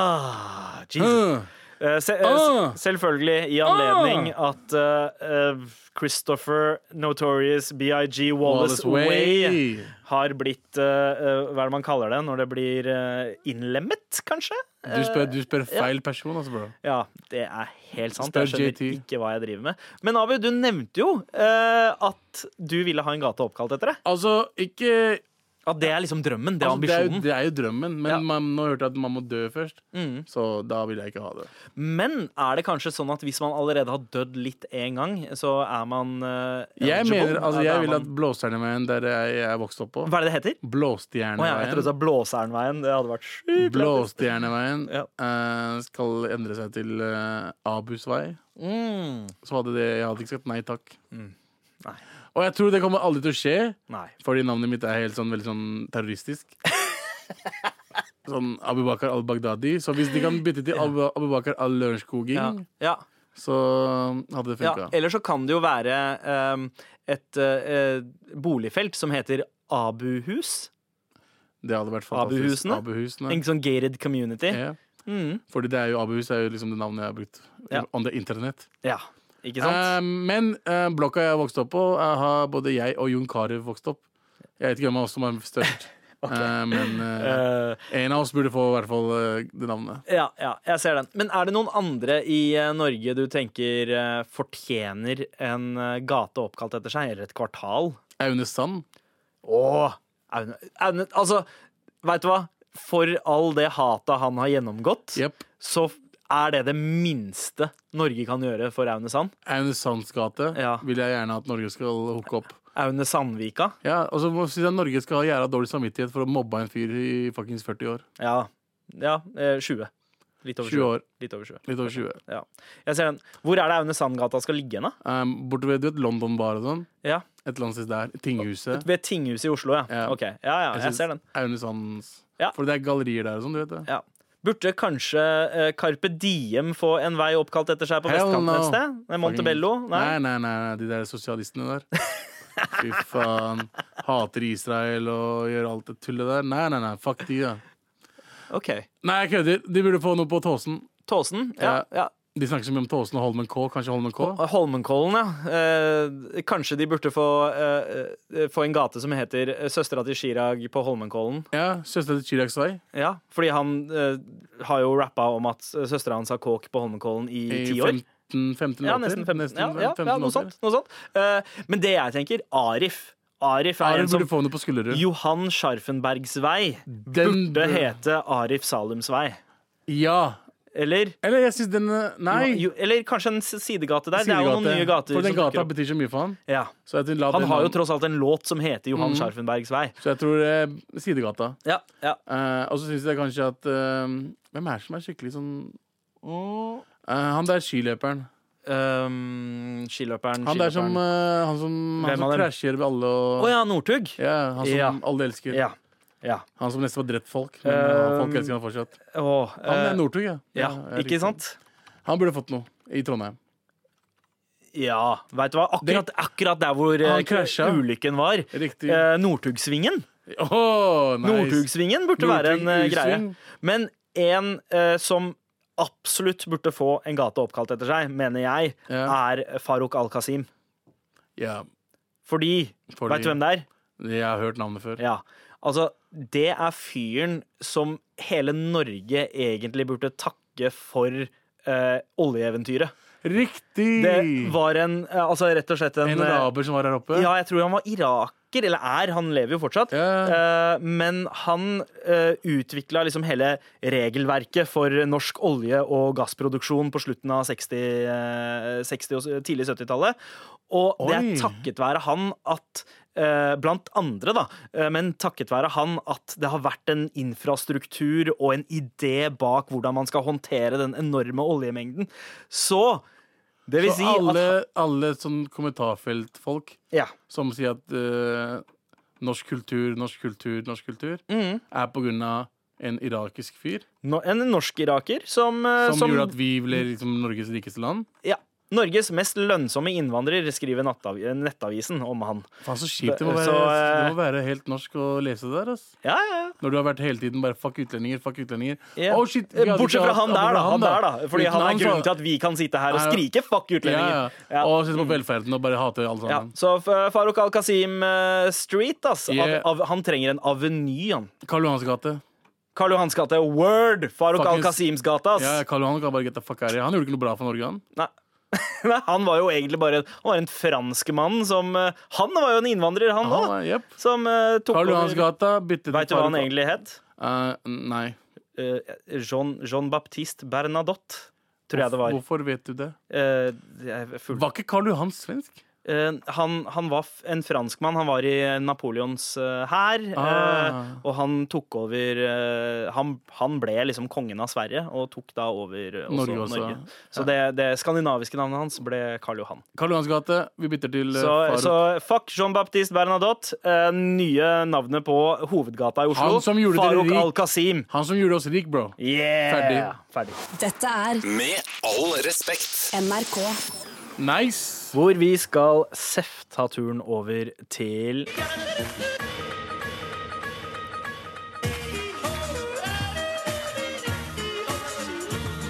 Ah, Jesus.
Uh.
Eh, se, eh,
Ah.
s- Selvfølgelig i anledning at eh, eh, Christopher Notorious BIG Wallace,
Wallace Way.
Way har blitt eh, eh, Hva er det man kaller det når det blir eh, innlemmet, kanskje? Eh,
Du spør, du spør feil person, altså, bro.
Ja, det er helt sant.
Spør
Jeg skjønner
JT.
ikke hva jeg driver med. Men Abu, du nevnte jo eh, at du ville ha en gate oppkalt etter deg.
Altså, ikke
At det er liksom drømmen. Det er
altså, det, er jo,
ambisjonen.
det er jo drømmen, men
Ja. Mm.
man, nå hørte jeg at man må dø først. Så da vil jeg ikke ha det.
Men er det kanskje sånn at hvis man allerede har dødd litt en gang, så er man eh,
Jeg
eligible?
mener,
Da
altså,
er
jeg vil
man-
at Blåstjerneveien, der jeg, jeg vokste opp på
Hva er det det heter? Å ja, jeg trodde du
Blåstjerneveien,
sa Blåsernveien. Det hadde vært sjukt. lættis.
Blåstjerneveien eh, skal endre seg til eh, Abus vei.
Mm.
Så hadde det Jeg hadde ikke sagt nei takk.
Nei.
Og jeg tror det kommer aldri til å skje,
Nei.
fordi navnet mitt er helt sånn, veldig sånn terroristisk. Sånn Abu Bakar al-Baghdadi. Så hvis de kan bytte til Abu, Abu Bakar al-Lørenskoging,
Ja. ja.
så hadde det
ja.
funka.
Eller så kan det jo være ehm, et eh, boligfelt som heter Abuhus.
Det hadde vært fantastisk.
Abuhusene?
Abuhusene.
En sånn gated community.
Ja.
Mm.
Fordi det er jo Abuhus er jo liksom det navnet jeg har brukt
Ja.
on the internet.
Ja, ikke sant?
Eh, men eh, blokka jeg vokste opp på, eh, har både jeg og Jon Carew vokst opp. Jeg vet ikke hvem av oss som er størst, Eh, men eh,
Eh,
en av oss burde få i hvert fall eh, det navnet.
ja, ja, jeg ser den. Men er det noen andre i eh, Norge du tenker eh, fortjener en eh, gate oppkalt etter seg, eller et kvartal?
Aune Sand.
Åh, Aune, Aune Altså, veit du hva? For all det hatet han har gjennomgått,
Jepp.
så f- er det det minste Norge kan gjøre for Aune Sand.
Aune Sands gate
Ja.
vil jeg gjerne at Norge skal hooke opp.
Aune Sandvika.
Ja, og så må- synes jeg Norge skal ha jævla dårlig samvittighet for å mobbe en fyr i fuckings 40 år.
Ja, ja eh, 20. Litt over
20
20.
år.
Litt over 20.
Litt over 20.
Ja. Jeg ser den. Hvor er det Aune Sandgata skal ligge hen, da?
Um, borte ved du vet, London Bar og sånn.
Ja.
Et eller annet sted der. Tinghuset.
Ved Tinghuset i Oslo, ja.
Ja.
Ok, ja, ja, jeg ser den.
Aune Sands.
Ja.
For det er gallerier der og sånn, du vet det.
Ja. Burde kanskje eh, Carpe Diem få en vei oppkalt etter seg på
Hell
vestkanten et
no.
sted? Nei, Montebello? Nei.
Nei, nei, nei, nei, de der sosialistene der. Fy faen. Hater Israel og gjør alt det tullet der. Nei, nei, nei, fuck de, da.
OK.
Nei, jeg kødder. De burde få noe på Tåsen.
Tåsen? Ja. ja.
De snakker så mye om Tåsen og Holmen K. Kanskje Holmen K?
Holmenkollen, ja. Eh, kanskje de burde få, eh, eh, få en gate som heter eh, Søstera til Chirag på Holmenkollen.
Ja, Søstera til Chiraks vei.
Ja, fordi han eh, har jo rappa om at eh, søstera hans har kåk på Holmenkollen i ti år.
15, 15
Ja,
låter.
nesten 15.
Nesten
ja, ja,
15
ja, noe
låter.
sånt. Noe sånt. Eh, men det jeg tenker, Arif. Arif er
Arif
en
burde
som
få noe på Skullerud.
Johan Scharfenbergs vei
Den
burde
bur-
hete Arif Salums vei.
Ja.
Eller,
Eller jeg syns den Nei.
jo, eller kanskje en s- sidegate der. Det er jo noen
sidegate.
nye gater.
For den
som dukker
gata
opp.
betyr så mye for han.
ja.
Så jeg, tror- la
Han
den
har jo
navn-
tross alt en låt som heter
Mm.
Johan Scharfenbergs vei.
så jeg tror eh, sidegata.
Ja, ja.
Eh, og så syns jeg kanskje at eh, Hvem er det som er skikkelig sånn Eh, Han der skiløperen.
Ehm, skiløperen,
Han der som,
skiløperen.
eh, han som,
Hvem
han som
av dem?
krasjer ved alle og
Å ja, Northug.
ja, Han som
Ja.
alle elsker.
Ja. ja.
Han som nesten har drept folk. Men
Eh,
folk elsker han fortsatt.
Åh,
Han
eh,
er Northug, ja.
ja.
Ja,
Ikke
riktig.
sant?
Han burde fått noe i Trondheim.
Ja. Veit du hva, akkurat, akkurat der hvor eh,
Han krasja.
ulykken var.
Riktig.
Eh, Northugsvingen.
Åh, nice.
Northugsvingen burde være en eh, greie.
Northug-U-sving.
Men en eh, som absolutt burde få en gate oppkalt etter seg, mener jeg,
Ja.
er Farouk Al-Qasim.
Ja,
Fordi,
Fordi-
Vet du hvem det er?
jeg har hørt navnet før.
Ja. Altså, det er fyren som hele Norge egentlig burde takke for eh, oljeeventyret.
Riktig!
Det var en eh, Altså rett og slett en
en araber som var her oppe.
eh, Ja, jeg tror han var iraker, eller er. Han lever jo fortsatt.
Ja.
Eh, men han uh, utvikla liksom hele regelverket for norsk olje- og gassproduksjon på slutten av 60, eh, 60 og s- tidlig 70-tallet. Og det
Oi.
er takket være han at eh, Blant andre, da, eh, men takket være han at det har vært en infrastruktur og en idé bak hvordan man skal håndtere den enorme oljemengden. Så det vil
Så
si
alle,
at
alle sånn kommentarfeltfolk
Ja.
som sier at eh, norsk kultur, norsk kultur, norsk kultur,
Mm.
er på grunn av en irakisk fyr
no- En norsk iraker som, eh,
som,
som
gjorde at vi ble liksom Norges rikeste land.
Ja. Norges mest lønnsomme innvandrer, skriver nattav Nettavisen om han.
Faen, så kjipt det må
Det-
være.
så, eh,
det må være helt norsk å lese det der. Ass.
Ja, ja, ja.
Når du har vært hele tiden bare fuck utlendinger, fuck utlendinger.
Ja. Eh,
Å, shit, vi hadde
Bortsett
ikke
fra
hatt-
han
bortsett
der, da. Han der, da. Fordi
Uten
han er
så-
grunnen til at vi kan sitte her og
Ja.
skrike 'fuck
ja,
utlendinger'.
ja.
Ja.
Og sitte på velferden og bare hate alle
Ja,
sammen.
så F- Farouk Al-Qasim eh, Street, ass.
Yeah.
Av, av, han trenger en aveny, han.
Karl Johans gate.
Karl Johans gate, word! Farouk
Fuckings-
Al-Qasims gate, ass.
Ja, Karl Johan kan bare get the fuck out of here. Han gjorde ikke noe bra for Norge, han.
Nei. Nei, han var jo egentlig bare Han var en franskmann som eh, Han var jo en innvandrer, han
han
òg!
var, jep.
Som eh, tok
Karl Johans gate byttet
Veit du hva han egentlig het?
nei.
Eh, Jean, Jean-Baptiste Bernadotte, tror jeg det var.
Hvorfor vet du det?
Eh, jeg er full.
Var ikke Karl Johan svensk?
Eh, han, han var f- en franskmann. Han var i Napoleons eh, hær. eh,
Ah.
og han tok over eh, han, han ble liksom kongen av Sverige, og tok da over eh, også
Norge
Norge.
også,
Så det, det skandinaviske navnet hans ble Karl Johan.
Karl Johans gate, vi bytter til eh,
Så,
Faruk.
så fuck Jean-Baptiste Bernadotte. eh, nye navnet på hovedgata i Oslo.
Han som gjorde det
Farouk
rik.
Al-Qasim.
Han som gjorde oss rik, bro.
Yeah! Ferdig.
Dette er
Med all respekt.
NRK.
Nice!
Hvor vi skal seff ta turen over til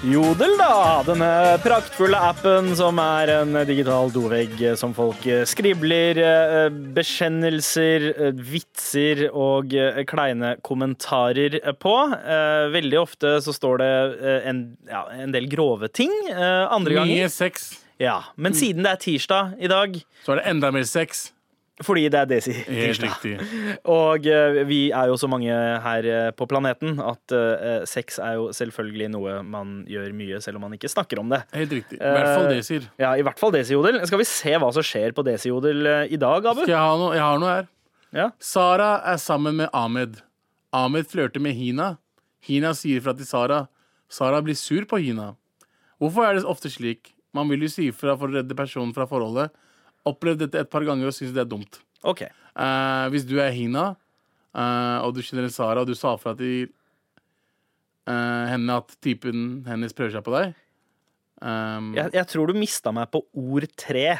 Jodel, da! Denne praktfulle appen som er en digital dovegg som folk eh, skribler eh, bekjennelser, eh, vitser og eh, kleine kommentarer på. Eh, Veldig ofte så står det eh, en, ja, en del grove ting. eh, Andre ganger
Mye sex.
ja,
Mm.
Men siden det er tirsdag i dag,
Så er det enda mer sex.
fordi det er Desi
Helt
tirsdag
riktig.
Og eh, vi er jo så mange her eh, på planeten at eh, sex er jo selvfølgelig noe man gjør mye, selv om man ikke snakker om det.
Helt riktig. I hvert fall
Eh,
det sier.
Ja, I hvert fall Desi-jodel. Skal vi se hva som skjer på Desi-jodel eh, i dag, Abu?
Skal jeg, ha noe? jeg har noe her.
Ja.
Sara er sammen med Ahmed. Ahmed flørter med Hina. Hina sier fra til Sara. Sara blir sur på Hina. Hvorfor er det ofte slik? Man vil jo si ifra for å redde personen fra forholdet. Opplevd dette et par ganger og syns det er dumt.
OK.
Eh, hvis du er Hina, eh, og du kjenner en Sara, og du sa fra til eh, henne at typen hennes prøver seg på deg Ehm,
Jeg, jeg tror du mista meg på ord tre.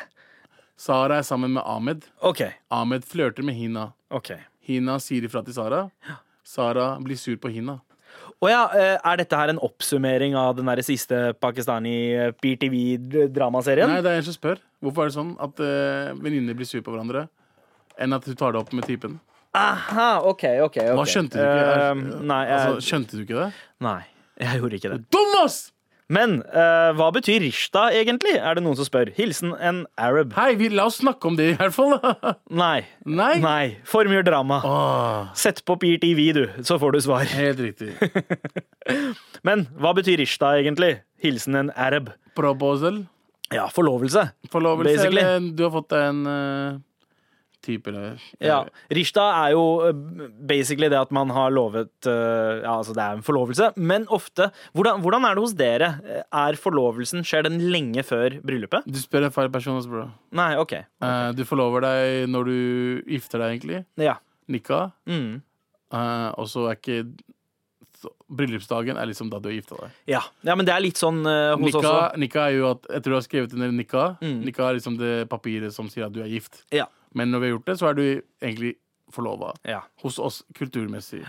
Sara er sammen med Ahmed.
OK.
Ahmed flørter med Hina.
ok
Hina sier ifra til Sara. Sara blir sur på Hina.
Å ja, eh, er dette her en oppsummering av den der siste pakistani eh, PTV-dramaserien?
Nei, det er en som spør. Hvorfor er det sånn at uh, venninner blir sur på hverandre? Enn at du tar det opp med typen.
Aha, OK, OK. ok.
Hva skjønte du ikke?
Eh,
Er-
nei, jeg,
altså, skjønte du ikke det?
Nei, jeg gjorde ikke det.
Dum, ass!
Men eh, hva betyr rishta egentlig, er det noen som spør. Hilsen en arab.
Hei, vi, la oss snakke om det i hvert fall.
Nei.
Nei.
Nei. Formgjør drama.
Åh,
Sett på PRTV, du, så får du svar.
helt riktig.
Men hva betyr rishta egentlig? Hilsen en arab.
Proposal.
Ja, forlovelse.
Forlovelse,
Basically.
eller du har fått deg en eh, type, eller
Ja. Rishta er jo eh, basically det at man har lovet eh, Ja, altså det er en forlovelse, men ofte Hvordan, hvordan er det hos dere? Eh, Er forlovelsen Skjer den lenge før bryllupet?
Du spør en feil person, ass, bro.
Nei, OK.
Eh, du forlover deg når du gifter deg, egentlig.
Ja.
Nikka.
Mm.
Eh, og så er ikke så- Bryllupsdagen er liksom da du har gifta deg.
ja. Ja, men det er litt sånn eh, hos oss også.
Nikka, nikka er jo at etter du har skrevet under nikka,
Mm.
nikka er liksom det papiret som sier at du er gift.
Ja.
Men når vi har gjort det, så er du egentlig forlova.
Ja.
Hos oss kulturmessig.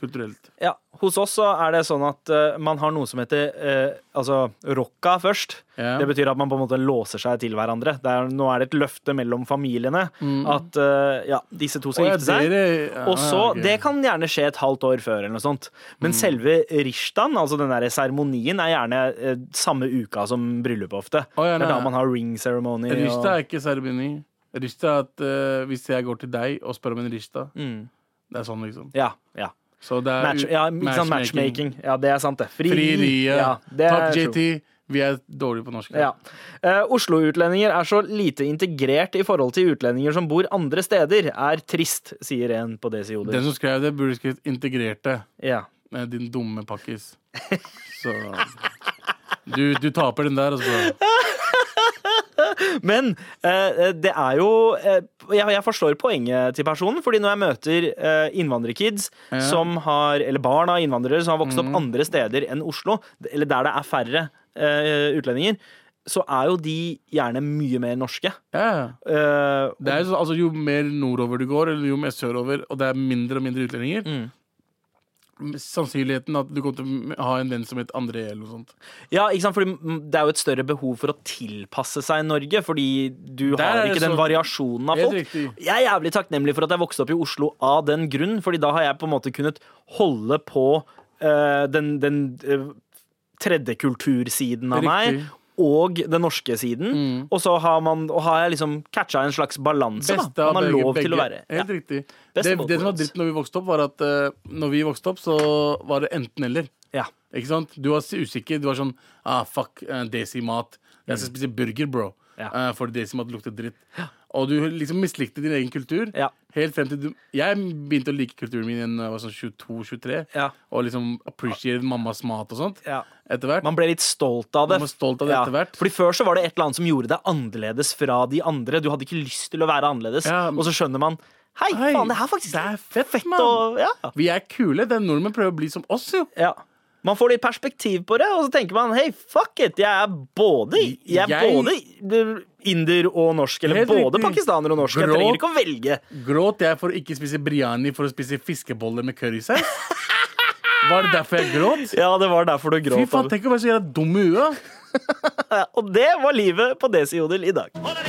kulturelt.
Ja, Hos oss så er det sånn at eh, man har noe som heter eh, altså rocka først.
Ja.
Det betyr at man på en måte låser seg til hverandre. Det er, nå er det et løfte mellom familiene at eh, ja, disse to skal
Mm. Å, ja,
gifte seg.
dere- ja,
Og så,
ok. Mm.
Det kan gjerne skje et halvt år før, eller noe sånt. Men selve rishtan, altså den der seremonien, er gjerne eh, samme uka som bryllupet ofte.
Å, ja,
det er
nei.
da man har ring ceremony.
Rishta
Og...
er ikke seremoni. Rishta er at eh, hvis jeg går til deg og spør om en rishta
Mm.
Det er sånn, liksom.
Ja, ja.
Så det er
Match,
u-
ja, ikke sant, matchmaking. Ja, det er sant, det. Fri,
Frieriet.
Ja, det er
Takk,
true.
JT. Vi er dårlige på norsk.
Ja. Eh, Oslo-utlendinger er så lite integrert i forhold til utlendinger som bor andre steder, er trist, sier en på
Den
desioder.
som skrev det, burde skrevet 'integrerte'.
Ja.
Med din dumme pakkis. Så du, du taper den der, altså.
Men eh, det er jo eh, jeg, jeg forstår poenget til personen, fordi når jeg møter eh, innvandrerkids som har Eller barn av innvandrere som har vokst
Mm.
opp andre steder enn Oslo, eller der det er færre eh, utlendinger, så er jo de gjerne mye mer norske.
Ja.
Eh,
Det er jo, sånn, altså, jo mer nordover du går, eller jo mer sørover, og det er mindre og mindre utlendinger
Mm.
Sannsynligheten at du kommer til å ha en venn som heter André eller noe sånt.
Ja, ikke sant? Fordi mm, Det er jo et større behov for å tilpasse seg Norge, fordi du
Der er
har
det
ikke den
så-
variasjonen av
Helt
folk.
riktig.
Jeg er jævlig takknemlig for at jeg vokste opp i Oslo av den grunn, fordi da har jeg på en måte kunnet holde på eh, den, den eh, tredje kultursiden av meg.
Riktig. Mm.
Og den norske siden. Og så har, man, og har jeg liksom catcha en slags balanse. da.
Beste av
Man har
begge-
lov til
begge.
å være ja.
Helt riktig.
Best
Det,
of both
det som var
worlds.
dritt når vi vokste opp, var at eh, når vi vokste opp, så var det enten-eller.
Ja.
Ikke sant? Du var usikker. Du var sånn ah, Fuck, eh, desi-mat. Jeg skal spise burger, bro.
Mm. Ja.
Eh, for desi-mat lukter dritt. Og du liksom mislikte din egen kultur.
Ja.
Helt frem til du, Jeg begynte å like kulturen min igjen da jeg var sånn 22-23.
Ja.
Og liksom appreciate mammas mat og sånt.
Ja.
Etter hvert.
Man ble litt stolt av det.
Man var stolt av det etter hvert.
Fordi Før så var det et eller annet som gjorde deg annerledes fra de andre. Du hadde ikke lyst til å være annerledes.
Ja.
Og så skjønner man Hei,
Hei,
faen, det her er faktisk
det er fett, mann.
og, ja.
Vi er kule. Det er nordmenn prøver å bli som oss, jo.
ja. Man får litt perspektiv på det, og så tenker man hei, fuck it, jeg er både, jeg er
Jeg-
både inder og norsk. Eller
Helt
både
riktig.
pakistaner og norsk. Jeg
Grå.
trenger ikke å velge.
Gråt jeg for å ikke spise biryani for å spise fiskeboller med currysaus? Var det derfor jeg gråt?
Ja, det var derfor du
Fy
gråt.
faen,
Abel.
tenk å være så jævla dum i huet.
og det var livet på Desi Jodel i dag.